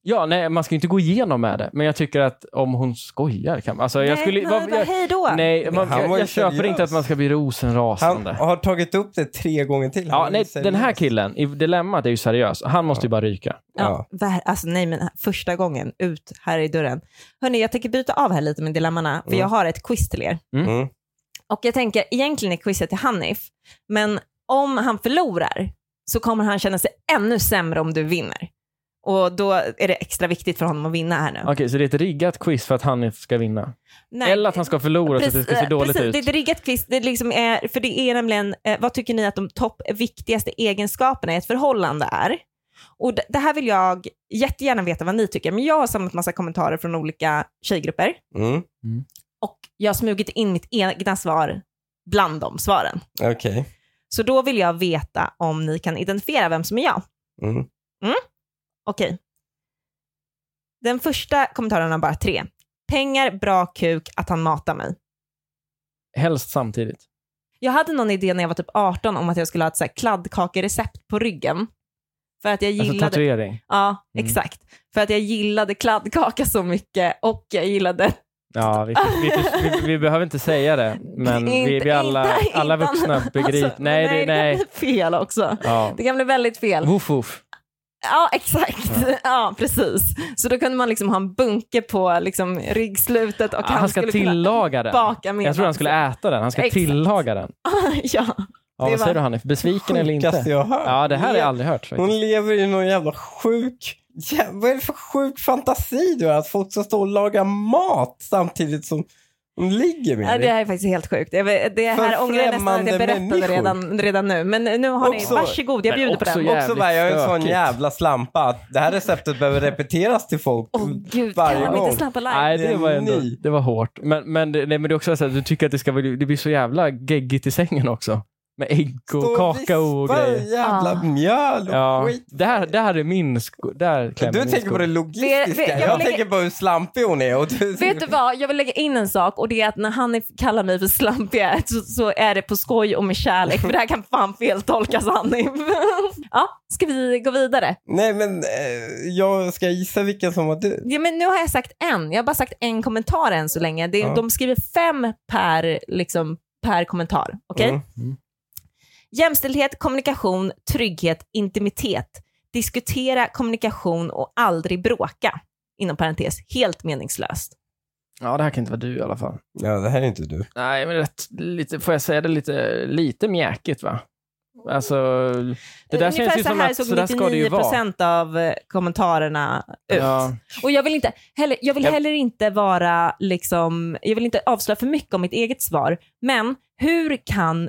Speaker 1: Ja, nej, man ska ju inte gå igenom med det. Men jag tycker att om hon skojar kan man... Alltså, jag
Speaker 3: Nej,
Speaker 1: skulle...
Speaker 3: men
Speaker 1: vad-
Speaker 3: bara,
Speaker 1: jag,
Speaker 3: hej då.
Speaker 1: nej, man,
Speaker 2: Han var
Speaker 1: jag,
Speaker 2: ju
Speaker 1: jag köper
Speaker 2: seriös.
Speaker 1: inte att man ska bli
Speaker 2: Han
Speaker 1: rosenrasande.
Speaker 2: har tagit upp det tre gånger till. Han
Speaker 1: Ja,
Speaker 2: är
Speaker 1: nej,
Speaker 2: seriös.
Speaker 1: den här killen i dilemmat är ju seriös. Han måste ju bara ryka.
Speaker 3: Ja, ver- alltså nej, men första gången ut här i dörren. Hörni, jag tänker byta av här lite med dilemmana, för
Speaker 2: Mm.
Speaker 3: jag har ett quiz till er.
Speaker 1: Mm.
Speaker 2: Mm.
Speaker 3: Och jag tänker, egentligen är quizet till Hanif, men om han förlorar så kommer han känna sig ännu sämre om du vinner. Och då är det extra viktigt för honom att vinna här nu.
Speaker 1: Okej, så det är ett riggat quiz för att han ska vinna?
Speaker 3: Nej,
Speaker 1: Eller att han ska förlora så att det ska se
Speaker 3: eh,
Speaker 1: dåligt
Speaker 3: precis,
Speaker 1: ut?
Speaker 3: Det är ett riggat quiz, det är liksom är, för det är nämligen, eh, vad tycker ni att de topp viktigaste egenskaperna i ett förhållande är? Och det, det här vill jag jättegärna veta vad ni tycker, men jag har samlat massa kommentarer från olika tjejgrupper
Speaker 2: Mm.
Speaker 3: och jag har smugit in mitt egna svar bland de svaren.
Speaker 2: Okej.
Speaker 3: Så då vill jag veta om ni kan identifiera vem som är jag.
Speaker 2: Mm.
Speaker 3: Okej. Den första kommentaren har bara tre. Pengar, bra kuk, att han matar mig.
Speaker 1: Helst samtidigt.
Speaker 3: Jag hade någon idé när jag var typ 18 om att jag skulle ha ett så här kladdkakerecept på ryggen. För att jag
Speaker 1: Alltså
Speaker 3: gillade...
Speaker 1: tatuering.
Speaker 3: ja,
Speaker 1: Mm.
Speaker 3: exakt. För att jag gillade kladdkaka så mycket och jag gillade...
Speaker 1: Ja, vi, vi, vi, vi behöver inte säga det, men vi, vi
Speaker 3: Inte-
Speaker 1: alla,
Speaker 3: inte-
Speaker 1: alla
Speaker 3: inte-
Speaker 1: vuxna begriper.
Speaker 3: Alltså,
Speaker 1: nej, det,
Speaker 3: nej, det
Speaker 1: nej.
Speaker 3: kan bli fel också.
Speaker 1: Ja.
Speaker 3: Det kan bli väldigt fel.
Speaker 1: Woof, woof.
Speaker 3: Ja, exakt. Ja. precis. Så då kunde man liksom ha en bunke på liksom, ryggslutet och han,
Speaker 1: Ah, Han ska
Speaker 3: skulle kunna
Speaker 1: tillaga den.
Speaker 3: baka med
Speaker 1: Jag tror han skulle äta den. Han ska
Speaker 3: Exakt.
Speaker 1: tillaga den.
Speaker 3: ja.
Speaker 1: Ja, vad
Speaker 3: Det var-
Speaker 1: säger du Hanif? Besviken eller
Speaker 2: Sjukaste
Speaker 1: inte?
Speaker 2: jag har hört.
Speaker 1: Ja, det här har jag aldrig hört.
Speaker 2: Hon
Speaker 1: Faktiskt.
Speaker 2: lever i någon jävla sjuk Ja, vad är det för sjuk fantasi du har? Att folk ska stå och laga mat samtidigt som de ligger med
Speaker 3: Ja,
Speaker 2: dig?
Speaker 3: det här är faktiskt helt sjukt. Jag vet- Det här
Speaker 2: För
Speaker 3: ångrar jag nästan att jag
Speaker 2: främmande
Speaker 3: berättade
Speaker 2: människor.
Speaker 3: redan, redan nu. Men nu har
Speaker 2: Också-
Speaker 3: ni, varsågod, jag
Speaker 1: Men
Speaker 3: bjuder på
Speaker 1: också
Speaker 3: den.
Speaker 1: jävligt
Speaker 2: Också bara, jag är en sån
Speaker 1: stökigt.
Speaker 2: jävla slampa att det här receptet behöver repeteras till folk.
Speaker 3: Åh gud,
Speaker 2: varje
Speaker 3: kan de
Speaker 2: gång.
Speaker 3: inte släppa live?
Speaker 1: Nej,
Speaker 2: Det
Speaker 1: det
Speaker 2: är
Speaker 1: var, ändå,
Speaker 2: ni.
Speaker 1: det var hårt. Men, men, det, nej, men det är också så att du tycker att det, ska, vara- det blir så jävla geggigt i sängen också. Med ägg och
Speaker 2: Stå
Speaker 1: kakao och
Speaker 2: vispa
Speaker 1: grejer.
Speaker 2: jävla
Speaker 3: Ah.
Speaker 2: mjöl och
Speaker 1: Ja,
Speaker 2: skit.
Speaker 1: där, där är min... sk- Där klämmer
Speaker 2: Du
Speaker 1: min
Speaker 2: tänker
Speaker 1: sko.
Speaker 2: på det logistiska.
Speaker 3: Vi- vi- jag
Speaker 2: jag
Speaker 3: lägger-
Speaker 2: tänker på hur slampig hon är. Och du,
Speaker 3: Vet du vad, jag vill lägga in en sak och det är att när han kallar mig för slampig så, så är det på skoj och med kärlek för det här kan fan feltolkas Hanif. ja, ska vi gå vidare?
Speaker 2: Nej men eh, jag ska gissa vilken som var du.
Speaker 3: Ja, men nu har jag sagt en, jag har bara sagt en kommentar än så länge. Det,
Speaker 2: Ja.
Speaker 3: De skriver fem per, liksom, per kommentar. Okej?
Speaker 2: Mm.
Speaker 3: Jämställdhet, kommunikation, trygghet, intimitet. Diskutera kommunikation och aldrig bråka. Inom parentes, helt meningslöst.
Speaker 1: Ja, det här kan inte vara du i alla fall.
Speaker 2: Ja det här är inte du.
Speaker 1: Nej, men rätt, lite, får jag säga det lite, lite mjäkigt va? Alltså, det där
Speaker 3: Ungefär
Speaker 1: känns ju
Speaker 3: så
Speaker 1: som
Speaker 3: här
Speaker 1: att
Speaker 3: såg
Speaker 1: så där ska det ju vara.
Speaker 3: 99% av eh, kommentarerna ut.
Speaker 1: Ja.
Speaker 3: Och jag vill, inte, heller, jag vill
Speaker 1: Jag-
Speaker 3: heller inte vara liksom, jag vill inte avslöja för mycket om mitt eget svar, men hur kan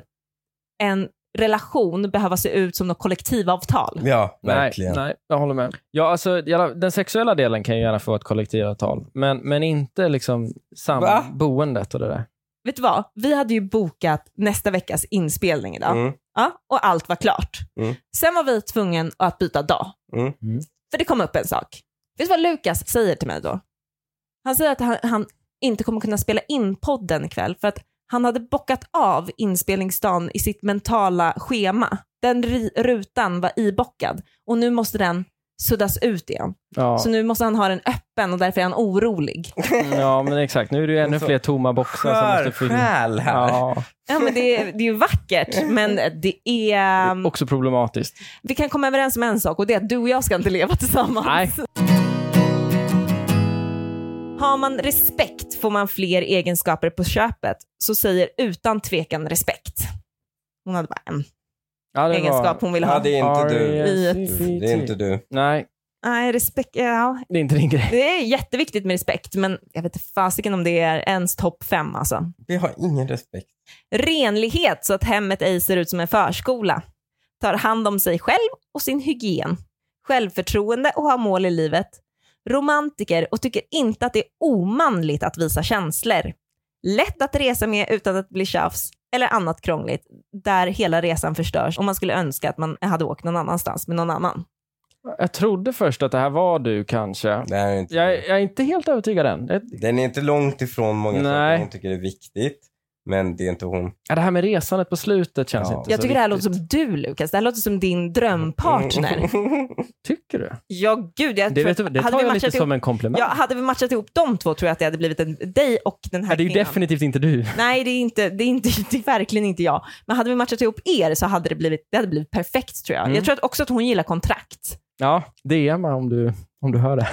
Speaker 3: en relation behöva se ut som något kollektivavtal?
Speaker 2: Ja,
Speaker 1: Nej,
Speaker 2: verkligen.
Speaker 1: nej, jag håller med. Ja, alltså, i alla- den sexuella delen kan ju gärna få ett kollektivavtal, men, men inte liksom
Speaker 2: Va?
Speaker 1: samboendet och det där.
Speaker 3: Vet du vad? Vi hade ju bokat nästa veckas inspelning idag
Speaker 2: Mm.
Speaker 3: ja, och allt var klart.
Speaker 2: Mm.
Speaker 3: Sen var vi tvungna att byta dag.
Speaker 2: Mm.
Speaker 1: Mm.
Speaker 3: För det kom upp en sak. Vet du vad Lukas säger till mig då? Han säger att han, han inte kommer kunna spela in podden ikväll för att han hade bockat av inspelningsdagen i sitt mentala schema. Den ri- rutan var ibockad och nu måste den suddas ut igen.
Speaker 1: Ja.
Speaker 3: Så nu måste han ha den öppen och därför är han orolig.
Speaker 1: ja, men exakt. Nu är det ju ännu
Speaker 2: Så-
Speaker 1: fler tomma boxar som
Speaker 2: Skör
Speaker 1: måste fyllas.
Speaker 2: själ här.
Speaker 1: Ja,
Speaker 3: Ja, men det, är, det är ju vackert, men det är...
Speaker 1: också problematiskt.
Speaker 3: Vi kan komma överens om en sak och det är att du och jag ska inte leva tillsammans.
Speaker 1: Nej.
Speaker 3: Har man respekt får man fler egenskaper på köpet. Så säger utan tvekan respekt. Hon hade bara en
Speaker 1: Ja, det
Speaker 3: egenskap
Speaker 1: var...
Speaker 3: hon ville ha.
Speaker 2: Ja, det är inte du.
Speaker 1: R.E.S.C.T..
Speaker 2: Det är inte du.
Speaker 1: Nej,
Speaker 3: Nej, respekt, ja.
Speaker 1: det är inte din grej.
Speaker 3: Det är jätteviktigt med respekt, men jag vet inte fasiken om det är ens topp fem alltså.
Speaker 2: Vi har ingen respekt.
Speaker 3: Renlighet så att hemmet ej ser ut som en förskola. Tar hand om sig själv och sin hygien. Självförtroende och har mål i livet. Romantiker och tycker inte att det är omanligt att visa känslor. Lätt att resa med utan att bli tjafs eller annat krångligt där hela resan förstörs om man skulle önska att man hade åkt någon annanstans med någon annan.
Speaker 1: Jag trodde först att det här var du kanske.
Speaker 2: Det här är inte
Speaker 1: Jag,
Speaker 2: du.
Speaker 1: jag är inte helt övertygad än. Det,
Speaker 2: Den är inte långt ifrån
Speaker 1: Nej.
Speaker 2: många saker hon tycker är viktigt. Men det är inte hon.
Speaker 1: ja, det här med resandet på slutet känns
Speaker 2: Ja.
Speaker 1: inte
Speaker 3: Jag
Speaker 1: så
Speaker 3: tycker det här låter
Speaker 1: viktigt.
Speaker 3: som du Lukas, det här låter som din drömpartner.
Speaker 1: Tycker du?
Speaker 3: Ja gud,
Speaker 1: Det,
Speaker 3: jag tror
Speaker 1: vet du,
Speaker 3: att-
Speaker 1: det
Speaker 3: hade
Speaker 1: tar
Speaker 3: vi
Speaker 1: jag
Speaker 3: matchat
Speaker 1: lite
Speaker 3: ihop
Speaker 1: som en komplimang.
Speaker 3: Ja, hade vi matchat ihop de två tror jag att det hade blivit en, dig och den här
Speaker 1: Ja, det är ju
Speaker 3: kvinnan.
Speaker 1: definitivt inte du.
Speaker 3: Nej, det är, inte, det, är inte, det är verkligen inte jag. Men hade vi matchat ihop er så hade det blivit, det hade blivit perfekt tror jag.
Speaker 1: Mm.
Speaker 3: Jag tror att också att hon gillar kontrakt.
Speaker 1: Ja, DMa om du, om du hör det.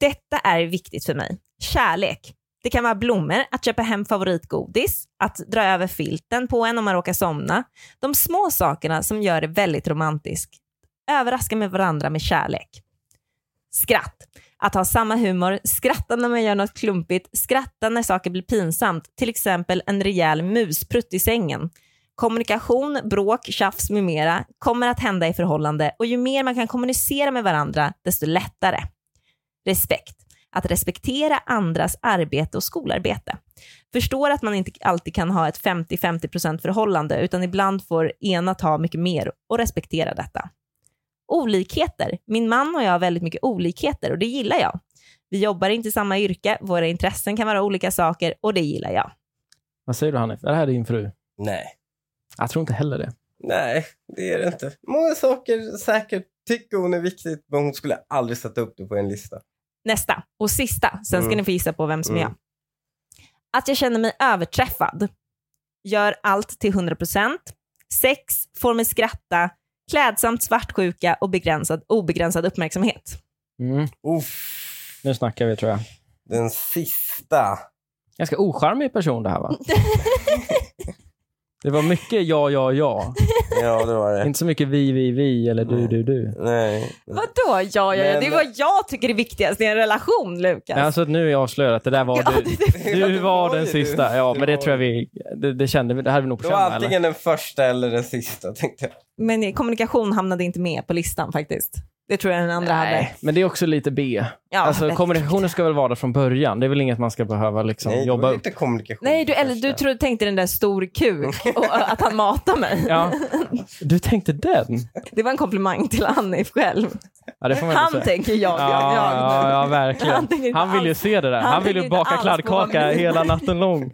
Speaker 3: Detta är viktigt för mig. Kärlek. Det kan vara blommor, att köpa hem favoritgodis, att dra över filten på en om man råkar somna. De små sakerna som gör det väldigt romantiskt. Överraska med varandra med kärlek. Skratt. Att ha samma humor, skratta när man gör något klumpigt, skratta när saker blir pinsamt, till exempel en rejäl musprutt i sängen. Kommunikation, bråk, tjafs med mera kommer att hända i förhållande och ju mer man kan kommunicera med varandra, desto lättare. Respekt. Att respektera andras arbete och skolarbete. Förstår att man inte alltid kan ha ett 50-50% förhållande utan ibland får ena ta mycket mer och respektera detta. Olikheter. Min man och jag har väldigt mycket olikheter och det gillar jag. Vi jobbar inte i samma yrke, våra intressen kan vara olika saker och det gillar jag.
Speaker 1: Vad säger du Hanif? Är det här din fru?
Speaker 2: Nej.
Speaker 1: Jag tror inte heller det.
Speaker 2: Nej, det är det inte. Många saker säkert tycker hon är viktigt, men hon skulle aldrig sätta upp det på en lista.
Speaker 3: Nästa och sista, sen ska
Speaker 2: Mm.
Speaker 3: ni få gissa på vem som är
Speaker 2: Mm.
Speaker 3: jag. Att jag känner mig överträffad. Gör allt till 100%. Sex, får mig skratta, klädsamt svartsjuka och begränsad, obegränsad uppmärksamhet.
Speaker 1: Mm.
Speaker 2: Uff,
Speaker 1: Nu snackar vi tror jag.
Speaker 2: den sista.
Speaker 1: Ganska ocharmig person det här va? det var mycket ja, ja, ja.
Speaker 2: Ja, det var det.
Speaker 1: Inte så mycket vi, vi, vi eller du, du, du.
Speaker 2: Nej.
Speaker 3: Vadå ja, ja, ja, det är
Speaker 2: Men-
Speaker 3: vad jag tycker är viktigast i en relation Lukas.
Speaker 1: Nej, alltså nu är jag avslöjad att det där var du. Du
Speaker 2: det
Speaker 1: var
Speaker 2: var
Speaker 1: den
Speaker 2: ju du.
Speaker 1: sista. Ja,
Speaker 2: Det
Speaker 1: men det
Speaker 2: var
Speaker 1: tror jag vi... Det, det kände vi. Det här hade vi nog på
Speaker 2: Det var
Speaker 1: känn, eller?
Speaker 2: antingen den första eller den sista, tänkte jag.
Speaker 3: Men kommunikation hamnade inte med på listan faktiskt. Det tror jag den andra hade.
Speaker 1: Nej, men det är också lite B.
Speaker 3: Ja,
Speaker 1: alltså
Speaker 3: väldigt
Speaker 1: kommunikationen
Speaker 3: viktigt.
Speaker 1: ska väl vara där från början. Det är väl inget man ska behöva liksom
Speaker 2: Nej, det
Speaker 1: jobba
Speaker 2: var
Speaker 1: upp.
Speaker 2: lite kommunikation.
Speaker 3: Nej, du, eller,
Speaker 2: första.
Speaker 3: du tror, tänkte den där stor kuk och att han matar mig.
Speaker 1: Ja. Du tänkte den?
Speaker 3: Det var en komplimang till Hanif själv.
Speaker 1: Ja, det får man
Speaker 3: Han
Speaker 1: ändå säga.
Speaker 3: tänker jag.
Speaker 1: Ja,
Speaker 3: jag.
Speaker 1: ja, ja,
Speaker 3: Han
Speaker 1: verkligen.
Speaker 3: tänker inte
Speaker 1: Han vill ju
Speaker 3: alls-
Speaker 1: se det där.
Speaker 3: han
Speaker 1: Han vill
Speaker 3: tänker
Speaker 1: ju
Speaker 3: inte
Speaker 1: baka
Speaker 3: alls på vad
Speaker 1: kladdkaka
Speaker 3: min-
Speaker 1: hela natten lång.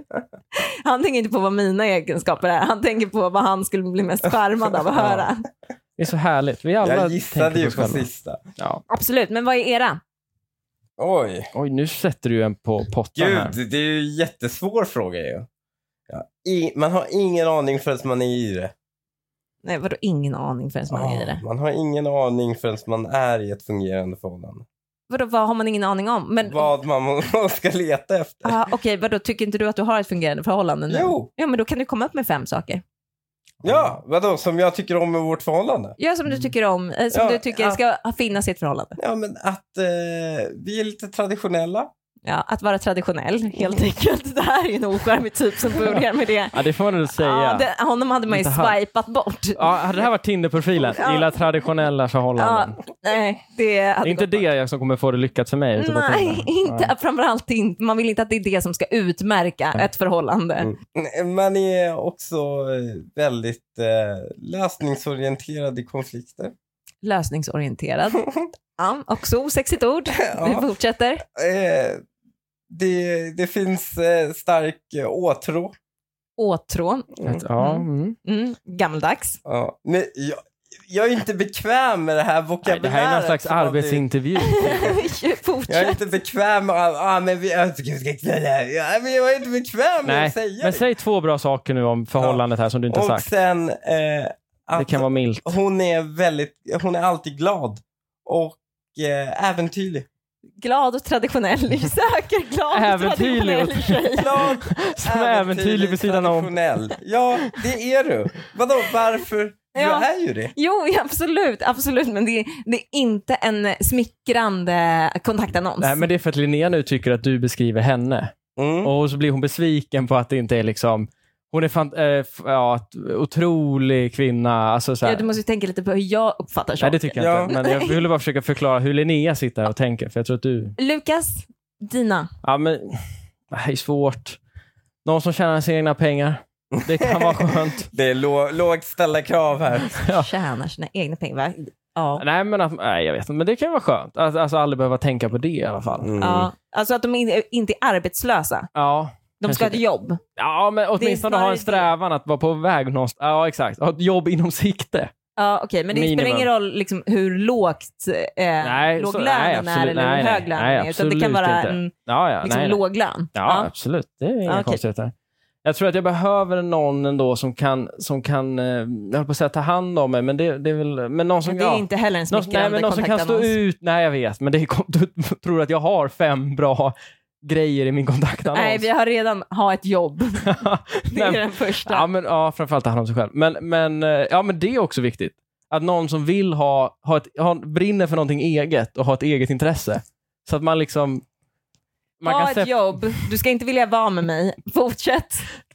Speaker 3: Han tänker inte på vad mina egenskaper är. Han tänker på vad han skulle bli mest skärmad av att
Speaker 1: Ja.
Speaker 3: höra.
Speaker 1: Det är så härligt. Vi alla
Speaker 2: jag
Speaker 1: tänker
Speaker 2: gissade ju
Speaker 1: oss
Speaker 2: på
Speaker 1: själva.
Speaker 2: sista.
Speaker 1: Ja.
Speaker 3: Absolut, men vad är era?
Speaker 2: Oj,
Speaker 1: Oj, nu sätter du en på pottan här.
Speaker 2: gud, det är ju en jättesvår fråga ju. Ja, i, man har ingen aning förrän man är i det.
Speaker 3: Nej, vadå ingen aning förrän man är i det?
Speaker 2: man har ingen aning förrän man är i ett fungerande förhållande.
Speaker 3: Vadå, vad har man ingen aning om? Men,
Speaker 2: Vad man må- ska leta efter.
Speaker 3: Ah, Okej, vadå, tycker inte du att du har ett fungerande förhållande nu?
Speaker 2: Jo,
Speaker 3: Ja, men då kan du komma upp med fem saker.
Speaker 2: ja, vadå, som jag tycker om med vårt förhållande?
Speaker 3: Gör som
Speaker 1: Mm.
Speaker 3: du tycker om, eh, som
Speaker 2: Ja,
Speaker 3: du tycker
Speaker 2: ja.
Speaker 3: ska finnas i ett förhållande.
Speaker 2: Ja, men att eh, vi är lite traditionella.
Speaker 3: Ja, att vara traditionell
Speaker 1: Mm.
Speaker 3: helt enkelt. Det här är ju en oskärmig typ som börjar med det.
Speaker 1: Ja, det får man väl säga.
Speaker 3: Ja, det, honom hade man ju
Speaker 1: Inte han.
Speaker 3: swipat bort.
Speaker 1: Ja, hade det här varit Tinder-profilen,
Speaker 3: Ja.
Speaker 1: gilla traditionella förhållanden.
Speaker 3: Ja, nej, det hade
Speaker 1: det är inte
Speaker 3: gått
Speaker 1: det jag som kommer få det typ lyckat för mig. utan bara
Speaker 3: Nej,
Speaker 1: Tinder.
Speaker 3: inte, framförallt inte. Man vill inte att det är det som ska utmärka ett förhållande.
Speaker 1: Mm.
Speaker 2: Nej, Man är också eh, väldigt eh, lösningsorienterad i konflikter.
Speaker 3: Lösningsorienterad. Ja, också osexigt ord. Vi fortsätter.
Speaker 2: Eh, det, det finns eh, stark eh, åtrå.
Speaker 3: Åtrå.
Speaker 1: Att- Ja, mm.
Speaker 3: Mm, gammaldags.
Speaker 2: Ja. Men jag, jag är inte bekväm med det här
Speaker 1: Nej,
Speaker 2: vokabuläret.
Speaker 1: det här är någon slags
Speaker 2: som har blivit-
Speaker 1: arbetsintervju.
Speaker 2: Jag är
Speaker 3: Fortsätt.
Speaker 2: inte bekväm med... Ah, men vi, jag, tycker vi ska knulla. ja, men jag är inte bekväm med
Speaker 1: Nej,
Speaker 2: att säga
Speaker 1: Men
Speaker 2: det.
Speaker 1: säg två bra saker nu om förhållandet här som du inte har
Speaker 2: Och
Speaker 1: sagt.
Speaker 2: sen eh,
Speaker 1: Det
Speaker 2: att
Speaker 1: kan vara milt.
Speaker 2: hon är väldigt... Hon är alltid glad och eh, äventyrlig.
Speaker 3: Glad och traditionell. Ni söker glad och
Speaker 1: Äventyrlig
Speaker 3: traditionell
Speaker 1: och-
Speaker 3: tjej.
Speaker 2: Glad,
Speaker 1: Som äventyrlig vid sidan om.
Speaker 2: traditionell. Ja, det är du. Vadå, varför?
Speaker 3: Ja.
Speaker 2: Du är ju det.
Speaker 3: Jo, ja, absolut, absolut. Men det är, det är inte en smickrande kontaktannons.
Speaker 1: Nej, men det är för att Linnea nu tycker att du beskriver henne.
Speaker 2: Mm.
Speaker 1: Och så blir hon besviken på att det inte är liksom... Hon är fan, eh, f- ja, att- otrolig kvinna. Alltså, så här.
Speaker 3: ja, du måste ju tänka lite på hur jag uppfattar
Speaker 1: Nej,
Speaker 3: saker.
Speaker 1: det tycker jag
Speaker 2: Ja.
Speaker 1: inte. Men jag ville bara försöka förklara hur Linnea sitter här och tänker. För jag tror att du...
Speaker 3: Lukas, dina.
Speaker 1: Ja, men det här är svårt. Någon som tjänar sina egna pengar. Det kan vara skönt.
Speaker 2: Det är lå- lågt ställda krav här.
Speaker 1: Ja.
Speaker 3: Tjänar sina egna pengar. va? Ja.
Speaker 1: Nej, men att, nej, jag vet inte. Men det kan vara skönt. Att alltså, aldrig behöva tänka på det i alla fall.
Speaker 2: Mm.
Speaker 3: ja. Alltså att de in, inte är arbetslösa.
Speaker 1: Ja.
Speaker 3: De
Speaker 1: Kanske
Speaker 3: ska ha ett jobb.
Speaker 1: Ja, men åtminstone ha
Speaker 3: snarare
Speaker 1: en strävan att vara på väg någonstans. Ja, exakt. Ha ett jobb inom sikte.
Speaker 3: Ja, okej, men det spelar
Speaker 1: Minimum.
Speaker 3: ingen roll liksom, hur lågt, eh,
Speaker 1: Nej,
Speaker 3: låg
Speaker 1: så- nej,
Speaker 3: lönen är
Speaker 1: absolut.
Speaker 3: eller
Speaker 1: Nej,
Speaker 3: hur
Speaker 1: nej.
Speaker 3: hög lönen
Speaker 1: Nej,
Speaker 3: är. Utan det kan
Speaker 1: absolut
Speaker 3: vara
Speaker 1: inte.
Speaker 3: en
Speaker 1: Ja, ja.
Speaker 3: liksom,
Speaker 1: nej, nej.
Speaker 3: låg lön.
Speaker 1: Ja,
Speaker 3: Ja.
Speaker 1: absolut. Det är inga
Speaker 3: Ja, okej.
Speaker 1: konstigheter. Jag tror att jag behöver någon ändå som kan, som kan eh, jag höll på att säga ta hand om mig, men det, det är väl, men någon som,
Speaker 3: Det är
Speaker 1: ja.
Speaker 3: inte heller en
Speaker 1: någon,
Speaker 3: smickrande
Speaker 1: nej, men någon som kan stå
Speaker 3: kontaktannons.
Speaker 1: ut. Nej, jag vet, men det kom, du tror att jag har fem bra grejer i min kontaktannons.
Speaker 3: Nej, vi har redan ha ett jobb. Det är
Speaker 1: Nej,
Speaker 3: den första.
Speaker 1: Ja, men, ja, framförallt ta hand om sig själv. Men, men, eh, ja, men det är också viktigt. Att någon som vill ha, ha, ett, ha brinner för någonting eget och ha ett eget intresse. Så att man liksom... Man
Speaker 3: ha
Speaker 1: kan
Speaker 3: ett
Speaker 1: sep-
Speaker 3: jobb, du ska inte vilja vara med mig. Fortsätt.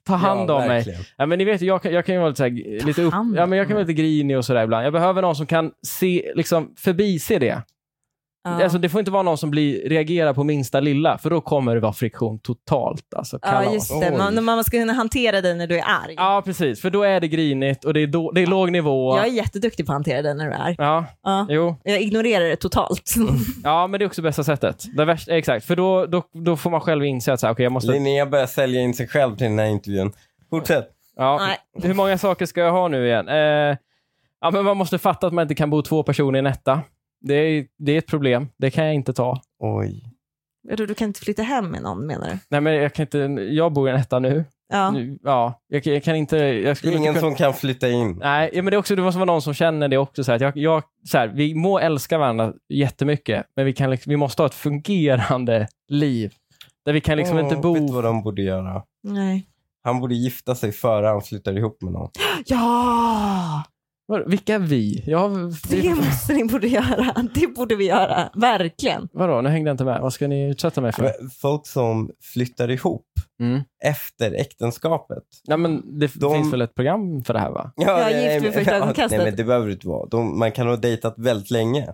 Speaker 1: ta hand om mig.
Speaker 2: verkligen.
Speaker 1: Ja, men ni vet, ju, jag, kan- jag kan ju vara lite, så här, lite, upp,
Speaker 3: hand
Speaker 1: ja, men jag
Speaker 3: om
Speaker 1: kan vara lite grinig och sådär ibland. Jag behöver någon som kan se, liksom, förbise det.
Speaker 3: Ja.
Speaker 1: Alltså, det får inte vara någon som blir, reagerar på minsta lilla, för då kommer det vara friktion totalt. Alltså, kalas.
Speaker 3: ja, just det.
Speaker 2: Oj.
Speaker 3: Man, man ska kunna hantera dig när du är arg.
Speaker 1: ja, precis. För då är det grinigt och det är, då, det är låg nivå.
Speaker 3: Jag är jätteduktig på att hantera dig när du är arg.
Speaker 1: Ja,
Speaker 3: Ja.
Speaker 1: jo.
Speaker 3: Jag ignorerar det totalt.
Speaker 1: Mm. Ja, men det är också bästa sättet. Det värsta, exakt, för då, då, då får man själv inse att så här, okej, jag måste...
Speaker 2: Linnea börjar sälja in sig själv till den här intervjun. Fortsätt.
Speaker 1: Ja,
Speaker 3: Nej.
Speaker 1: hur många saker ska jag ha nu igen? Eh, ja, men man måste fatta att man inte kan bo två personer i en etta. Det är, det är ett problem. Det kan jag inte ta.
Speaker 2: Oj.
Speaker 3: Du, du kan inte flytta hem med någon menar du?
Speaker 1: Nej, men jag, kan inte, jag bor i en etta nu.
Speaker 3: Ja.
Speaker 1: nu ja, jag, kan- jag kan inte... Jag
Speaker 2: Det är
Speaker 1: skulle inte
Speaker 2: ingen
Speaker 1: kunna,
Speaker 2: som kan flytta in.
Speaker 1: nej, ja, men det, är också, det måste vara någon som känner det också. Så här, att jag, jag, så här, vi må älska varandra jättemycket, men vi, kan, liksom- vi måste ha ett fungerande liv. Där vi kan liksom
Speaker 2: Åh,
Speaker 1: inte bo...
Speaker 2: Vet du vad de borde göra?
Speaker 3: Nej.
Speaker 2: Han borde gifta sig före han flyttar ihop med någon.
Speaker 3: Ja!
Speaker 1: Var, vilka vi? Jag,
Speaker 3: Det
Speaker 1: vi
Speaker 3: måste ni borde göra. Det borde vi göra. Verkligen.
Speaker 1: vadå, nu hängde jag inte med. Vad ska ni utsätta mig för?
Speaker 2: Folk som flyttar ihop
Speaker 1: Mm.
Speaker 2: efter äktenskapet.
Speaker 1: Nej, men det f-
Speaker 2: De-
Speaker 1: finns väl ett program för det här va?
Speaker 2: Ja,
Speaker 3: Jag är gift vid
Speaker 2: men-
Speaker 3: första ögonkastet.
Speaker 2: Nej, men det behöver det inte vara. De, man kan ha dejtat väldigt länge.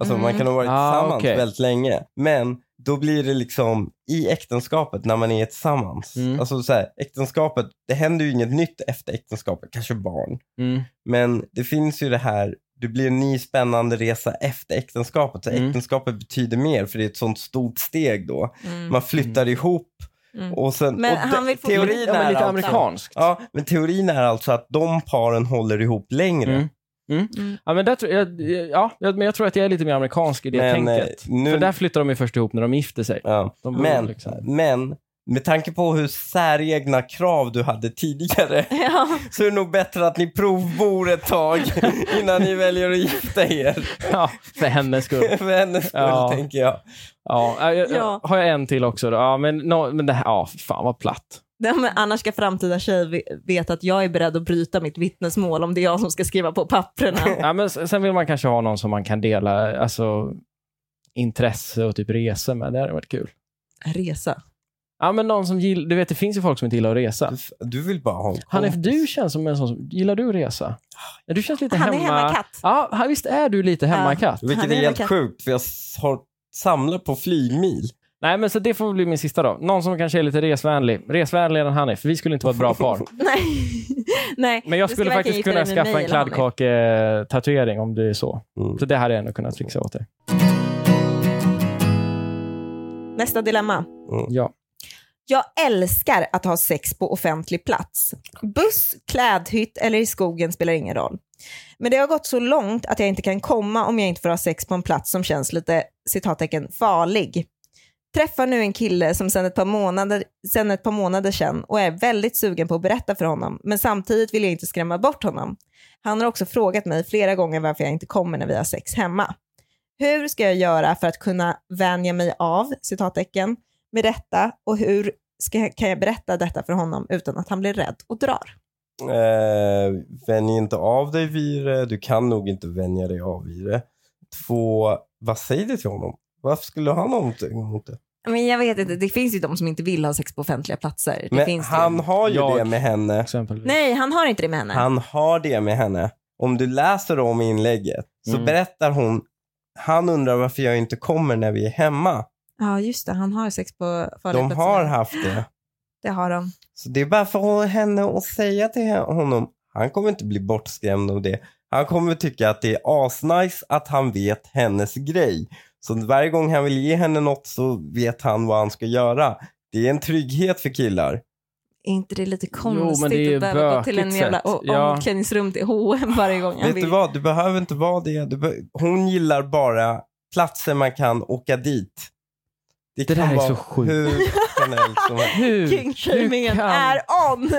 Speaker 2: Alltså
Speaker 3: Mm.
Speaker 2: man kan ha varit
Speaker 1: Ah,
Speaker 2: tillsammans
Speaker 1: okej.
Speaker 2: väldigt länge. Men då blir det liksom i äktenskapet när man är tillsammans.
Speaker 1: Mm.
Speaker 2: Alltså så här, äktenskapet, det händer ju inget nytt efter äktenskapet. Kanske barn.
Speaker 1: Mm.
Speaker 2: Men det finns ju det här, det blir en ny spännande resa efter äktenskapet. Så
Speaker 1: Mm.
Speaker 2: äktenskapet betyder mer för det är ett sånt stort steg då.
Speaker 3: Mm.
Speaker 2: Man flyttar ihop
Speaker 3: Mm.
Speaker 2: och sen...
Speaker 3: Men
Speaker 2: och
Speaker 3: han vill få-
Speaker 2: teorin
Speaker 1: Ja, men
Speaker 2: är
Speaker 1: lite
Speaker 2: alltså-
Speaker 1: amerikanskt.
Speaker 2: Ja, men teorin är alltså att de paren håller ihop längre.
Speaker 1: Mm.
Speaker 3: Mm.
Speaker 1: Ja, men, där, tror jag, ja, jag- men jag tror att jag är lite mer amerikansk i det
Speaker 2: Men,
Speaker 1: tänket.
Speaker 2: eh, nu-
Speaker 1: För där flyttar de ju först ihop när de gifter sig.
Speaker 2: Ja.
Speaker 1: De bor
Speaker 2: Men,
Speaker 1: liksom.
Speaker 2: men med tanke på hur säregna krav du hade tidigare
Speaker 3: Ja.
Speaker 2: så är det nog bättre att ni provbor ett tag innan ni väljer att gifta er.
Speaker 1: ja, för hennes skull.
Speaker 2: För hennes skull,
Speaker 1: Ja.
Speaker 2: tänker jag.
Speaker 1: Ja, äh, jag, jag-
Speaker 3: Ja.
Speaker 1: Har jag en till också då? Ja, men, no, men det här, ja, fan vad platt.
Speaker 3: Nej, men annars ska framtida tjej ve- veta att jag är beredd att bryta mitt vittnesmål om det är jag som ska skriva på papperna.
Speaker 1: Ja, men s- sen vill man kanske ha någon som man kan dela alltså, intresse och typ resa med. Det hade varit kul.
Speaker 3: Resa.
Speaker 1: Ja, men någon som gillar, du vet, det finns ju folk som inte gillar att resa.
Speaker 2: Du, du vill bara ha en
Speaker 1: Hanif,
Speaker 2: kompis.
Speaker 1: du känns som en sån som... Gillar du att resa? Ja, Du känns lite
Speaker 3: Ah, Han är
Speaker 1: hemma...
Speaker 3: hemmakatt.
Speaker 1: Ja, han- visst är du lite hemmakatt?
Speaker 2: Vilket
Speaker 3: Han
Speaker 2: är
Speaker 3: är
Speaker 2: helt
Speaker 3: verkligen-
Speaker 2: sjukt, för jag s- har samlar på flygmil.
Speaker 1: Nej, men så det får bli min sista då. Någon som kanske är lite resvänlig. Resvänligare än Hanif. Vi skulle inte vara ett bra par.
Speaker 3: Nej. Nej.
Speaker 1: Men jag
Speaker 3: Du ska
Speaker 1: skulle
Speaker 3: verkligen
Speaker 1: faktiskt
Speaker 3: gifta
Speaker 1: kunna
Speaker 3: dig med
Speaker 1: skaffa
Speaker 3: mig
Speaker 1: en
Speaker 3: eller Hanif.
Speaker 1: kladdkaketatuering om det är så.
Speaker 2: Mm.
Speaker 1: Så det hade jag ändå kunnat fixa åt dig.
Speaker 3: Nästa dilemma.
Speaker 1: Ja.
Speaker 3: Jag älskar att ha sex på offentlig plats. Buss, klädhytt eller i skogen spelar ingen roll. Men det har gått så långt att jag inte kan komma om jag inte får ha sex på en plats som känns lite citattecken farlig. Träffar nu en kille som sedan ett par månader, sedan ett par månader sedan och är väldigt sugen på att berätta för honom, men samtidigt vill jag inte skrämma bort honom. Han har också frågat mig flera gånger varför jag inte kommer när vi har sex hemma. Hur ska jag göra för att kunna vänja mig av, citattecken, med detta och hur ska, kan jag berätta detta för honom utan att han blir rädd och drar?
Speaker 2: Eh, vänj inte av dig vid det. Du kan nog inte vänja dig av vid det. Två, vad säger du till honom? Varför skulle han ha någonting emot det?
Speaker 3: Men jag vet inte, det finns ju de som inte vill ha sex på offentliga platser. Det
Speaker 2: Men
Speaker 3: finns
Speaker 2: han
Speaker 3: det.
Speaker 2: har ju
Speaker 1: Jag-
Speaker 2: det med henne.
Speaker 1: Exempelvis.
Speaker 3: Nej, han har inte det med henne.
Speaker 2: Han har det med henne. Om du läser om inlägget så
Speaker 1: Mm.
Speaker 2: berättar hon, han undrar varför jag inte kommer när vi är hemma.
Speaker 3: Ja, just det, han har sex på farliga
Speaker 2: De
Speaker 3: platser.
Speaker 2: har haft det.
Speaker 3: Det har de.
Speaker 2: Så det är bara för hon- henne att säga till honom, han kommer inte bli bortskrämd av det. Han kommer tycka att det är asnice att han vet hennes grej. Så varje gång han vill ge henne något så vet han vad han ska göra. Det är en trygghet för killar.
Speaker 3: Är inte det lite
Speaker 1: Jo,
Speaker 3: konstigt
Speaker 1: men det är ju
Speaker 3: att behöva gå till en
Speaker 1: bökigt
Speaker 3: jävla
Speaker 1: sätt.
Speaker 3: o-
Speaker 1: Ja.
Speaker 3: omklädningsrum till H&M varje gång han
Speaker 2: Vet du
Speaker 3: vill?
Speaker 2: vad, du behöver inte vara det. Du be- hon gillar bara platser man kan åka dit.
Speaker 1: Det där
Speaker 2: kan
Speaker 1: är
Speaker 2: vara
Speaker 1: så sjukt.
Speaker 2: Hur generellt som helst.
Speaker 1: Hur, hur
Speaker 3: Kingshamingen
Speaker 1: kan-
Speaker 3: är on!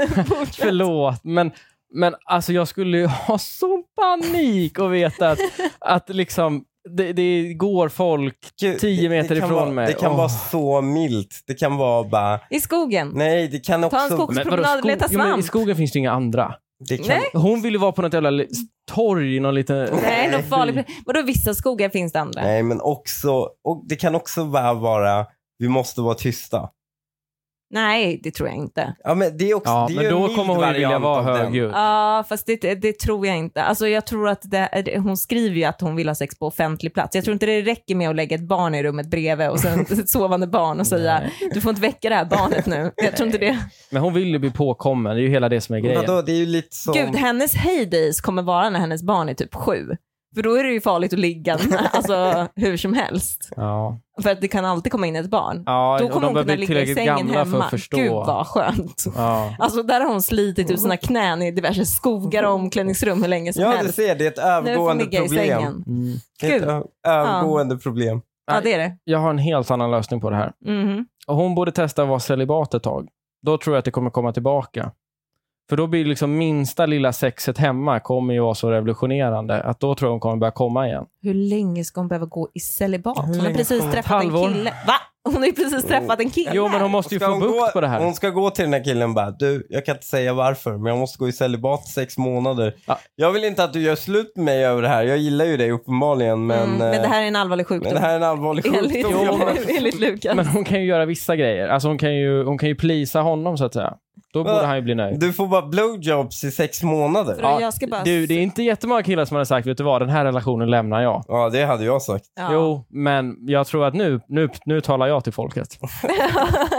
Speaker 3: Fortsätt.
Speaker 1: Förlåt, men, men alltså jag skulle ju ha sån panik och veta att, att liksom, det, det går folk.
Speaker 2: Gud,
Speaker 1: Tio
Speaker 2: det-
Speaker 1: meter
Speaker 2: det kan
Speaker 1: ifrån
Speaker 2: vara,
Speaker 1: mig.
Speaker 2: Det kan
Speaker 1: Åh.
Speaker 2: vara så milt. Det kan vara bara,
Speaker 3: I skogen.
Speaker 2: nej det kan också...
Speaker 3: en skog-
Speaker 1: Men vadå,
Speaker 3: Promenad, leta
Speaker 1: jo, men I
Speaker 3: svamp.
Speaker 1: skogen finns det ju inga andra.
Speaker 2: Det kan,
Speaker 3: Nej.
Speaker 1: Hon vill ju vara på något jävla li- torg i någon liten...
Speaker 3: Mm. Nej, någon
Speaker 1: by.
Speaker 3: farlig Vadå, vissa skogar finns det andra?
Speaker 2: Nej, men också, och det kan också bara vara, vi måste vara tysta.
Speaker 3: Nej, det tror jag inte.
Speaker 2: Ja, men det är också,
Speaker 1: Ja,
Speaker 2: det är ju
Speaker 1: men
Speaker 2: en
Speaker 1: då
Speaker 2: mild
Speaker 1: kommer hon ju vilja
Speaker 2: variant
Speaker 1: vara
Speaker 2: av den.
Speaker 1: högljudd.
Speaker 3: Ja, fast det, det tror jag inte. Alltså, jag tror att det, är- hon skriver ju att hon vill ha sex på offentlig plats. Jag tror inte det räcker med att lägga ett barn i rummet bredvid och sen ett sovande barn och säga du får inte väcka det här barnet nu. Jag tror inte det.
Speaker 1: Men hon vill ju bli påkommen, det är ju hela det som är grejen.
Speaker 2: Vadå, det är ju lite som...
Speaker 3: Gud, hennes heydays kommer vara när hennes barn är typ sju. För då är det ju farligt att ligga alltså, hur som helst.
Speaker 1: Ja.
Speaker 3: För att det kan alltid komma in ett barn.
Speaker 1: Ja,
Speaker 3: Då
Speaker 1: och
Speaker 3: kommer
Speaker 1: de börjar
Speaker 3: hon kunna
Speaker 1: bli
Speaker 3: ligga i
Speaker 1: tillräckligt
Speaker 3: sängen
Speaker 1: gamla för
Speaker 3: hemma.
Speaker 1: att förstå.
Speaker 3: Gud vad skönt.
Speaker 1: Ja.
Speaker 3: Alltså där har hon slitit ut sina knän i diverse skogar och omklädningsrum hur länge som
Speaker 2: Ja, du
Speaker 3: helst.
Speaker 2: ser, det är ett
Speaker 3: Nu får hon
Speaker 2: övergående
Speaker 3: ligga i
Speaker 2: problem.
Speaker 3: sängen.
Speaker 1: Mm.
Speaker 2: Det är ett
Speaker 3: Gud.
Speaker 2: ö- övergående problem.
Speaker 3: Ja, det är det.
Speaker 1: Jag har en helt annan lösning på det här.
Speaker 3: Mhm.
Speaker 1: Och hon borde testa att vara celibat ett tag. Då tror jag att det kommer komma tillbaka. För då blir liksom minsta lilla sexet hemma kommer ju vara så revolutionerande att då tror jag hon kommer börja komma igen.
Speaker 3: Hur länge ska hon behöva gå i celibat?
Speaker 2: Hur
Speaker 3: Hon har
Speaker 2: länge
Speaker 3: precis
Speaker 2: ska hon-
Speaker 3: träffat
Speaker 1: Halvår.
Speaker 3: en kille. Va? Hon har ju precis träffat en kille.
Speaker 1: Jo, men hon måste ju
Speaker 2: Ska
Speaker 1: få
Speaker 2: hon
Speaker 1: bukt
Speaker 2: gå,
Speaker 1: på det här.
Speaker 2: Hon ska gå till den här killen och bara, du, jag kan inte säga varför, men jag måste gå i celibat sex månader.
Speaker 1: Ja.
Speaker 2: Jag vill inte att du gör slut med mig över det här. Jag gillar ju dig uppenbarligen, men,
Speaker 3: mm, men det
Speaker 2: eh,
Speaker 3: här är en allvarlig
Speaker 2: men
Speaker 3: sjukdom.
Speaker 2: det här är en allvarlig
Speaker 3: enligt,
Speaker 2: sjukdom. Jag bara-
Speaker 3: enligt Lukas.
Speaker 1: Men hon kan ju göra vissa grejer. Alltså hon kan ju, hon kan ju plisa honom så att säga. Då
Speaker 2: Men-
Speaker 1: borde han ju bli nöjd.
Speaker 2: Du får bara blowjobs i sex månader.
Speaker 3: För
Speaker 1: Ja,
Speaker 3: jag ska bara...
Speaker 1: Du, det är inte jättemånga killar som har sagt, vet du vad, den här relationen lämnar jag.
Speaker 2: Ja, det hade jag sagt.
Speaker 3: Ja.
Speaker 1: Jo, men jag tror att nu, nu, nu talar jag till folket.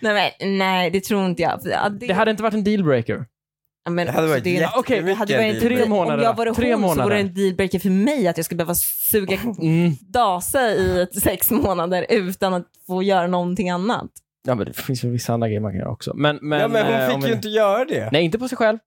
Speaker 3: nej, men, nej, det tror inte jag. För, ja, det,
Speaker 1: Det hade inte varit en dealbreaker.
Speaker 3: men,
Speaker 2: Det hade varit
Speaker 3: alltså, det är-
Speaker 2: jättemycket
Speaker 1: okej,
Speaker 3: det hade varit
Speaker 1: Tre
Speaker 3: en
Speaker 2: dealbreaker.
Speaker 3: deal-
Speaker 1: månader,
Speaker 3: Om jag vore
Speaker 1: tre
Speaker 3: hon så
Speaker 1: månader.
Speaker 3: vore det en dealbreaker för mig att jag skulle behöva suga
Speaker 1: Mm.
Speaker 3: dasa i ett sex månader utan att få göra någonting annat.
Speaker 1: Ja, men det finns ju vissa andra grejer man kan göra också. Men, men,
Speaker 2: ja, men
Speaker 1: eh,
Speaker 2: hon
Speaker 1: om
Speaker 2: fick
Speaker 1: vi-
Speaker 2: ju inte göra det.
Speaker 1: Nej, inte på sig själv.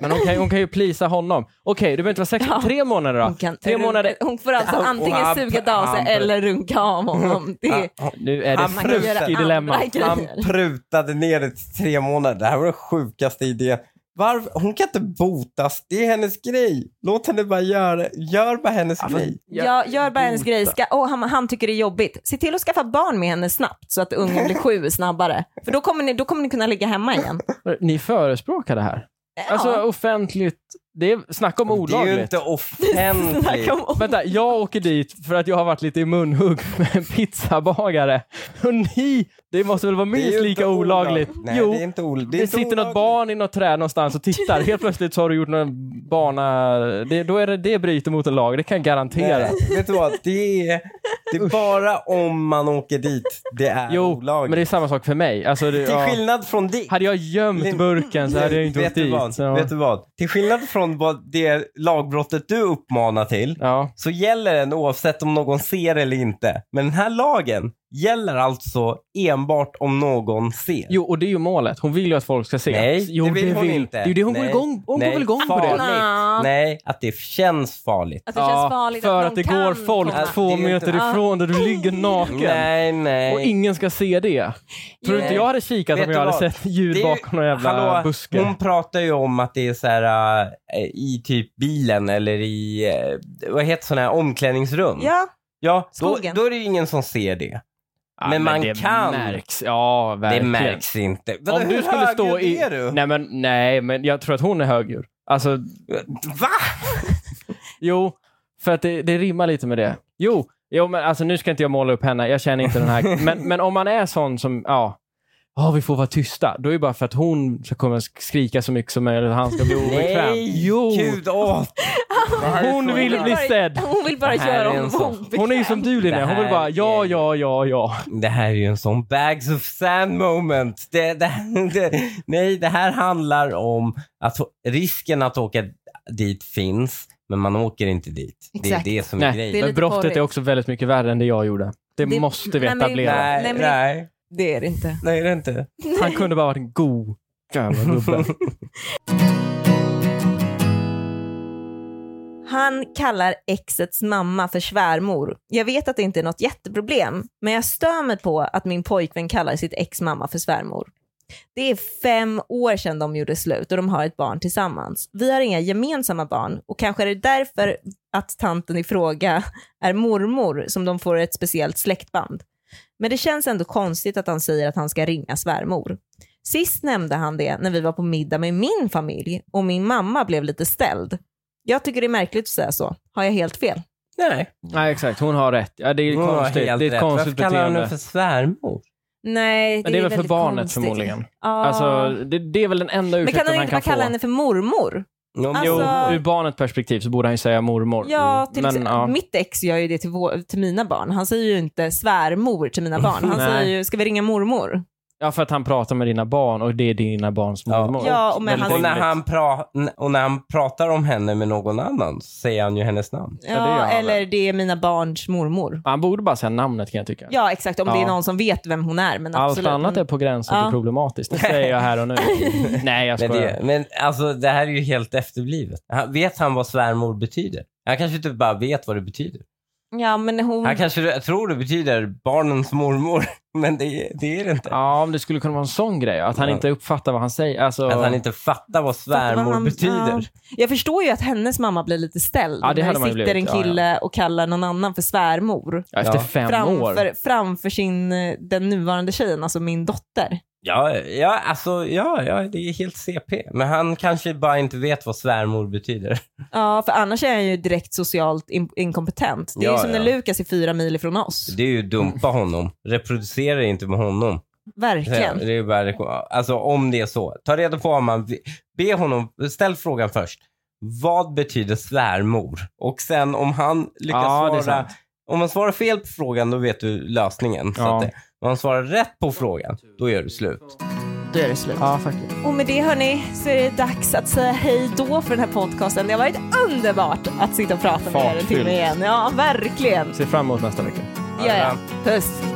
Speaker 1: Men hon kan, hon kan ju plisa honom. Okej, du behöver inte vara sex
Speaker 3: Ja.
Speaker 1: tre månader då.
Speaker 3: Hon, kan,
Speaker 1: Tre månader.
Speaker 3: hon får alltså
Speaker 2: Ja, och
Speaker 3: antingen
Speaker 2: han-
Speaker 3: suga dasa
Speaker 2: han-
Speaker 3: eller runka av honom. Det är,
Speaker 2: Han,
Speaker 1: Nu är det
Speaker 2: Han
Speaker 3: man kan
Speaker 2: frusen
Speaker 3: göra
Speaker 1: frukt i
Speaker 3: andra
Speaker 1: dilemma.
Speaker 3: grejer.
Speaker 2: Ah, han prutade ner det till tre månader. Det här var den sjukaste idén. Varför? Hon kan inte botas. Det är hennes grej. Låt henne bara göra Gör bara hennes
Speaker 1: Ja, men-
Speaker 2: grej.
Speaker 3: Ja, gör bara hennes grej. Ska, oh, han, han tycker det är jobbigt. Se till att skaffa barn med henne snabbt så att ungen blir sju snabbare. För då kommer ni, då kommer ni kunna ligga hemma igen.
Speaker 1: Ni förespråkar det här.
Speaker 3: Ja.
Speaker 1: Alltså offentligt. Det är snack om
Speaker 2: Det är ju
Speaker 1: olagligt.
Speaker 2: inte offentligt.
Speaker 3: Snacka om-
Speaker 1: Vänta, jag åker dit för att jag har varit lite i munhugg med en pizzabagare. Och ni, det måste väl vara
Speaker 2: Det är ju
Speaker 1: minst
Speaker 2: inte
Speaker 1: lika olagligt?
Speaker 2: olagligt. Nej,
Speaker 1: jo,
Speaker 2: det är inte olagligt.
Speaker 1: det,
Speaker 2: är inte
Speaker 1: sitter något
Speaker 2: olagligt.
Speaker 1: barn i något träd någonstans och tittar. Helt plötsligt så har du gjort någon bana. Det, då är det, det bryter mot en lag, det kan jag garantera.
Speaker 2: Nej, vet du vad? Det är, det är bara om man åker dit det är
Speaker 1: Jo, men
Speaker 2: olagligt.
Speaker 1: det är samma sak för mig. Alltså, det,
Speaker 2: Till
Speaker 1: ja.
Speaker 2: skillnad från det.
Speaker 1: Hade jag gömt
Speaker 2: Lin-
Speaker 1: burken så hade jag inte
Speaker 2: vet,
Speaker 1: åkt
Speaker 2: du
Speaker 1: dit.
Speaker 2: vad,
Speaker 1: Så.
Speaker 2: vet du vad? Till skillnad från vad det lagbrottet du uppmanar till
Speaker 1: Ja.
Speaker 2: så gäller den oavsett om någon ser eller inte. Men den här lagen gäller alltså enbart om någon ser.
Speaker 1: Jo, och det är ju målet. Hon vill ju att folk ska se.
Speaker 2: Nej,
Speaker 1: jo,
Speaker 2: det vill hon inte.
Speaker 1: Det är ju det hon går
Speaker 2: Nej.
Speaker 1: igång Hon
Speaker 2: Nej,
Speaker 1: går väl igång på det?
Speaker 2: farligt.
Speaker 3: Nja.
Speaker 2: Nej, att det känns farligt.
Speaker 3: Att det känns
Speaker 1: Ja,
Speaker 3: farligt
Speaker 1: för
Speaker 3: att,
Speaker 1: att det
Speaker 3: någon
Speaker 1: går
Speaker 3: kan
Speaker 1: folk
Speaker 3: komma.
Speaker 1: två
Speaker 2: Det är ju
Speaker 1: meter
Speaker 2: inte-
Speaker 1: ifrån där du ligger naken.
Speaker 2: Nej, nej.
Speaker 1: Och ingen ska se det. Tror du inte jag hade kikat
Speaker 2: Vet
Speaker 1: om jag
Speaker 2: du
Speaker 1: hade
Speaker 2: vad?
Speaker 1: sett djur
Speaker 2: Det är ju-
Speaker 1: bakom någon jävla
Speaker 2: Hallå,
Speaker 1: buske?
Speaker 2: Hon pratar ju om att det är så här eh, i typ bilen eller i, eh, vad heter sådana här omklädningsrum.
Speaker 3: Ja,
Speaker 2: Ja, då,
Speaker 3: Skogen.
Speaker 2: då är det ju ingen som ser det.
Speaker 1: Ja,
Speaker 2: men man
Speaker 1: det
Speaker 2: kan.
Speaker 1: Märks. Ja, verkligen.
Speaker 2: Det märks inte. Vadå,
Speaker 1: Om
Speaker 2: hur
Speaker 1: du skulle stå
Speaker 2: högljudd
Speaker 1: i...
Speaker 2: Är du?
Speaker 1: Nej, men, nej, men jag tror att hon är högljudd. Alltså,
Speaker 2: Va?
Speaker 1: jo, för att det, det rimmar lite med det. Jo, jo, men alltså nu ska inte jag måla upp henne. Jag känner inte den här. Men, men om man är sån som, ja, ja, vi får vara tysta. Då är det bara för att hon ska komma och skrika så mycket som möjligt och han ska bli obekväm.
Speaker 2: Nej,
Speaker 1: jo,
Speaker 2: gud. Åh. Det här är så
Speaker 1: hon vill
Speaker 2: jävla-
Speaker 1: bli sedd.
Speaker 3: hon vill bara
Speaker 2: Det här
Speaker 3: göra
Speaker 2: är en
Speaker 3: honom
Speaker 2: sån-
Speaker 3: obekväm.
Speaker 1: Hon är ju som du Linnea, hon vill bara ja, ja, ja, ja.
Speaker 2: Det här är ju en sån bags of sand moment. Det, det, det, nej, det här handlar om att risken att åka dit finns, men man åker inte dit.
Speaker 3: Exakt.
Speaker 2: Det är det som är
Speaker 1: Nej,
Speaker 2: grejen.
Speaker 3: Det är
Speaker 1: men
Speaker 3: lite
Speaker 1: brottet
Speaker 3: porrigt.
Speaker 1: är också väldigt mycket värre än det jag gjorde. Det,
Speaker 3: Det-
Speaker 1: måste vi
Speaker 3: nej, men-
Speaker 1: etablera.
Speaker 2: Nej,
Speaker 3: Nej,
Speaker 2: nej,
Speaker 3: men-
Speaker 2: nej,
Speaker 3: Det är det inte.
Speaker 2: det är det inte.
Speaker 1: Han kunde bara varit en god jävla gubbe.
Speaker 3: Han kallar exets mamma för svärmor. Jag vet att det inte är något jätteproblem, men jag stör mig på att min pojkvän kallar sitt ex mamma för svärmor. Det är fem år sedan de gjorde slut och de har ett barn tillsammans. Vi har inga gemensamma barn och kanske är det därför att tanten i fråga är mormor som de får ett speciellt släktband. Men det känns ändå konstigt att han säger att han ska ringa svärmor. Sist nämnde han det när vi var på middag med min familj och min mamma blev lite ställd. Jag tycker det är märkligt att säga så. Har jag helt fel?
Speaker 2: Nej.
Speaker 1: Nej, exakt. Hon har rätt. Ja, det är
Speaker 2: Hon har
Speaker 1: konstigt.
Speaker 2: helt
Speaker 1: Det är ett
Speaker 2: rätt.
Speaker 1: konstigt
Speaker 2: Varför kallar hon
Speaker 1: beteende.
Speaker 2: henne för svärmor?
Speaker 3: Nej, det,
Speaker 1: Men det är väl för
Speaker 3: väldigt
Speaker 1: barnet
Speaker 3: konstigt.
Speaker 1: förmodligen.
Speaker 3: Ja.
Speaker 1: Alltså, det, det är väl den enda
Speaker 3: men kan
Speaker 1: ursäkten
Speaker 3: han
Speaker 1: han
Speaker 3: inte
Speaker 1: kan
Speaker 3: bara
Speaker 1: få.
Speaker 3: kalla henne för mormor?
Speaker 2: Jo,
Speaker 1: Jo,
Speaker 3: Alltså-
Speaker 1: ur barnets perspektiv så borde han ju säga mormor.
Speaker 3: Ja, till
Speaker 1: Mm, men,
Speaker 3: exempel,
Speaker 1: ja.
Speaker 3: mitt ex gör ju det till, vår, till mina barn. Han säger ju inte svärmor till mina barn. Han
Speaker 1: Nej.
Speaker 3: säger ju, ska vi ringa mormor?
Speaker 1: ja, för att han pratar med dina barn och det är dina barns
Speaker 2: Ja.
Speaker 1: mormor.
Speaker 3: Ja, och med
Speaker 1: Väldigt
Speaker 2: och, när
Speaker 1: rimligt.
Speaker 2: han pra- och när han pratar om henne med någon annan så säger han ju hennes namn.
Speaker 3: Ja,
Speaker 1: det gör han
Speaker 3: eller
Speaker 1: väl.
Speaker 3: det är mina barns mormor.
Speaker 1: Han borde bara säga namnet kan jag tycka.
Speaker 3: Ja, exakt. Om det
Speaker 1: Ja.
Speaker 3: är någon som vet vem hon är. Men
Speaker 1: Allt
Speaker 3: absolut. Mm.
Speaker 1: annat är på gränsen
Speaker 3: Ja.
Speaker 1: till problematiskt. Det säger jag här och nu. Nej, jag
Speaker 2: Men,
Speaker 1: skojar.
Speaker 2: det, men alltså, det här är ju helt efterblivet. Han, vet han typ vad svärmor betyder? Han kanske inte bara vet vad det betyder.
Speaker 3: Ja, men hon...
Speaker 2: Här kanske du tror det betyder barnens mormor, men det, det är det inte.
Speaker 1: Ja, om det skulle kunna vara en sån grej. Att han
Speaker 2: Ja.
Speaker 1: inte uppfattar vad han säger. Alltså,
Speaker 2: Att han inte fattar vad
Speaker 3: Fattar vad
Speaker 2: svärmor
Speaker 3: han-
Speaker 2: betyder.
Speaker 3: Jag förstår ju att hennes mamma blir lite ställd.
Speaker 1: Ja, det
Speaker 3: när
Speaker 1: hade man ju
Speaker 3: sitter
Speaker 1: blivit.
Speaker 3: en
Speaker 1: Ja,
Speaker 3: kille och kallar någon annan för svärmor.
Speaker 1: ja, efter
Speaker 2: Ja.
Speaker 1: fem år.
Speaker 3: Framför, framför sin, eh, den nuvarande tjejen, alltså min dotter.
Speaker 2: Ja, ja, alltså, ja, ja, det är helt CP. Men han kanske bara inte vet vad svärmor betyder.
Speaker 3: Ja, för annars är han ju direkt socialt in- inkompetent. Det är ju
Speaker 2: Ja,
Speaker 3: som
Speaker 2: ja.
Speaker 3: när Lukas är fyra mil ifrån oss.
Speaker 2: Det är ju dumpa honom. Reproducera inte med honom.
Speaker 3: Verkligen.
Speaker 2: Det är ju bara, alltså om det är så. Ta reda på om man... Be honom... Ställ frågan först. Vad betyder svärmor? Och sen om han lyckas
Speaker 1: Ja, det är
Speaker 2: svara...
Speaker 1: sant.
Speaker 2: Om man svarar fel på frågan, då vet du lösningen. Så
Speaker 1: Ja.
Speaker 2: att det, om man svarar rätt på frågan, då gör du slut.
Speaker 3: Då är det slut.
Speaker 1: Ja, faktiskt.
Speaker 3: Och med det hörni så är det dags att säga hej då för den här podcasten. Det har varit underbart att sitta och prata med er en
Speaker 1: Fartfyllt.
Speaker 3: timme igen. Ja, verkligen.
Speaker 1: Ser fram emot nästa vecka.
Speaker 3: Ja, ja. Puss.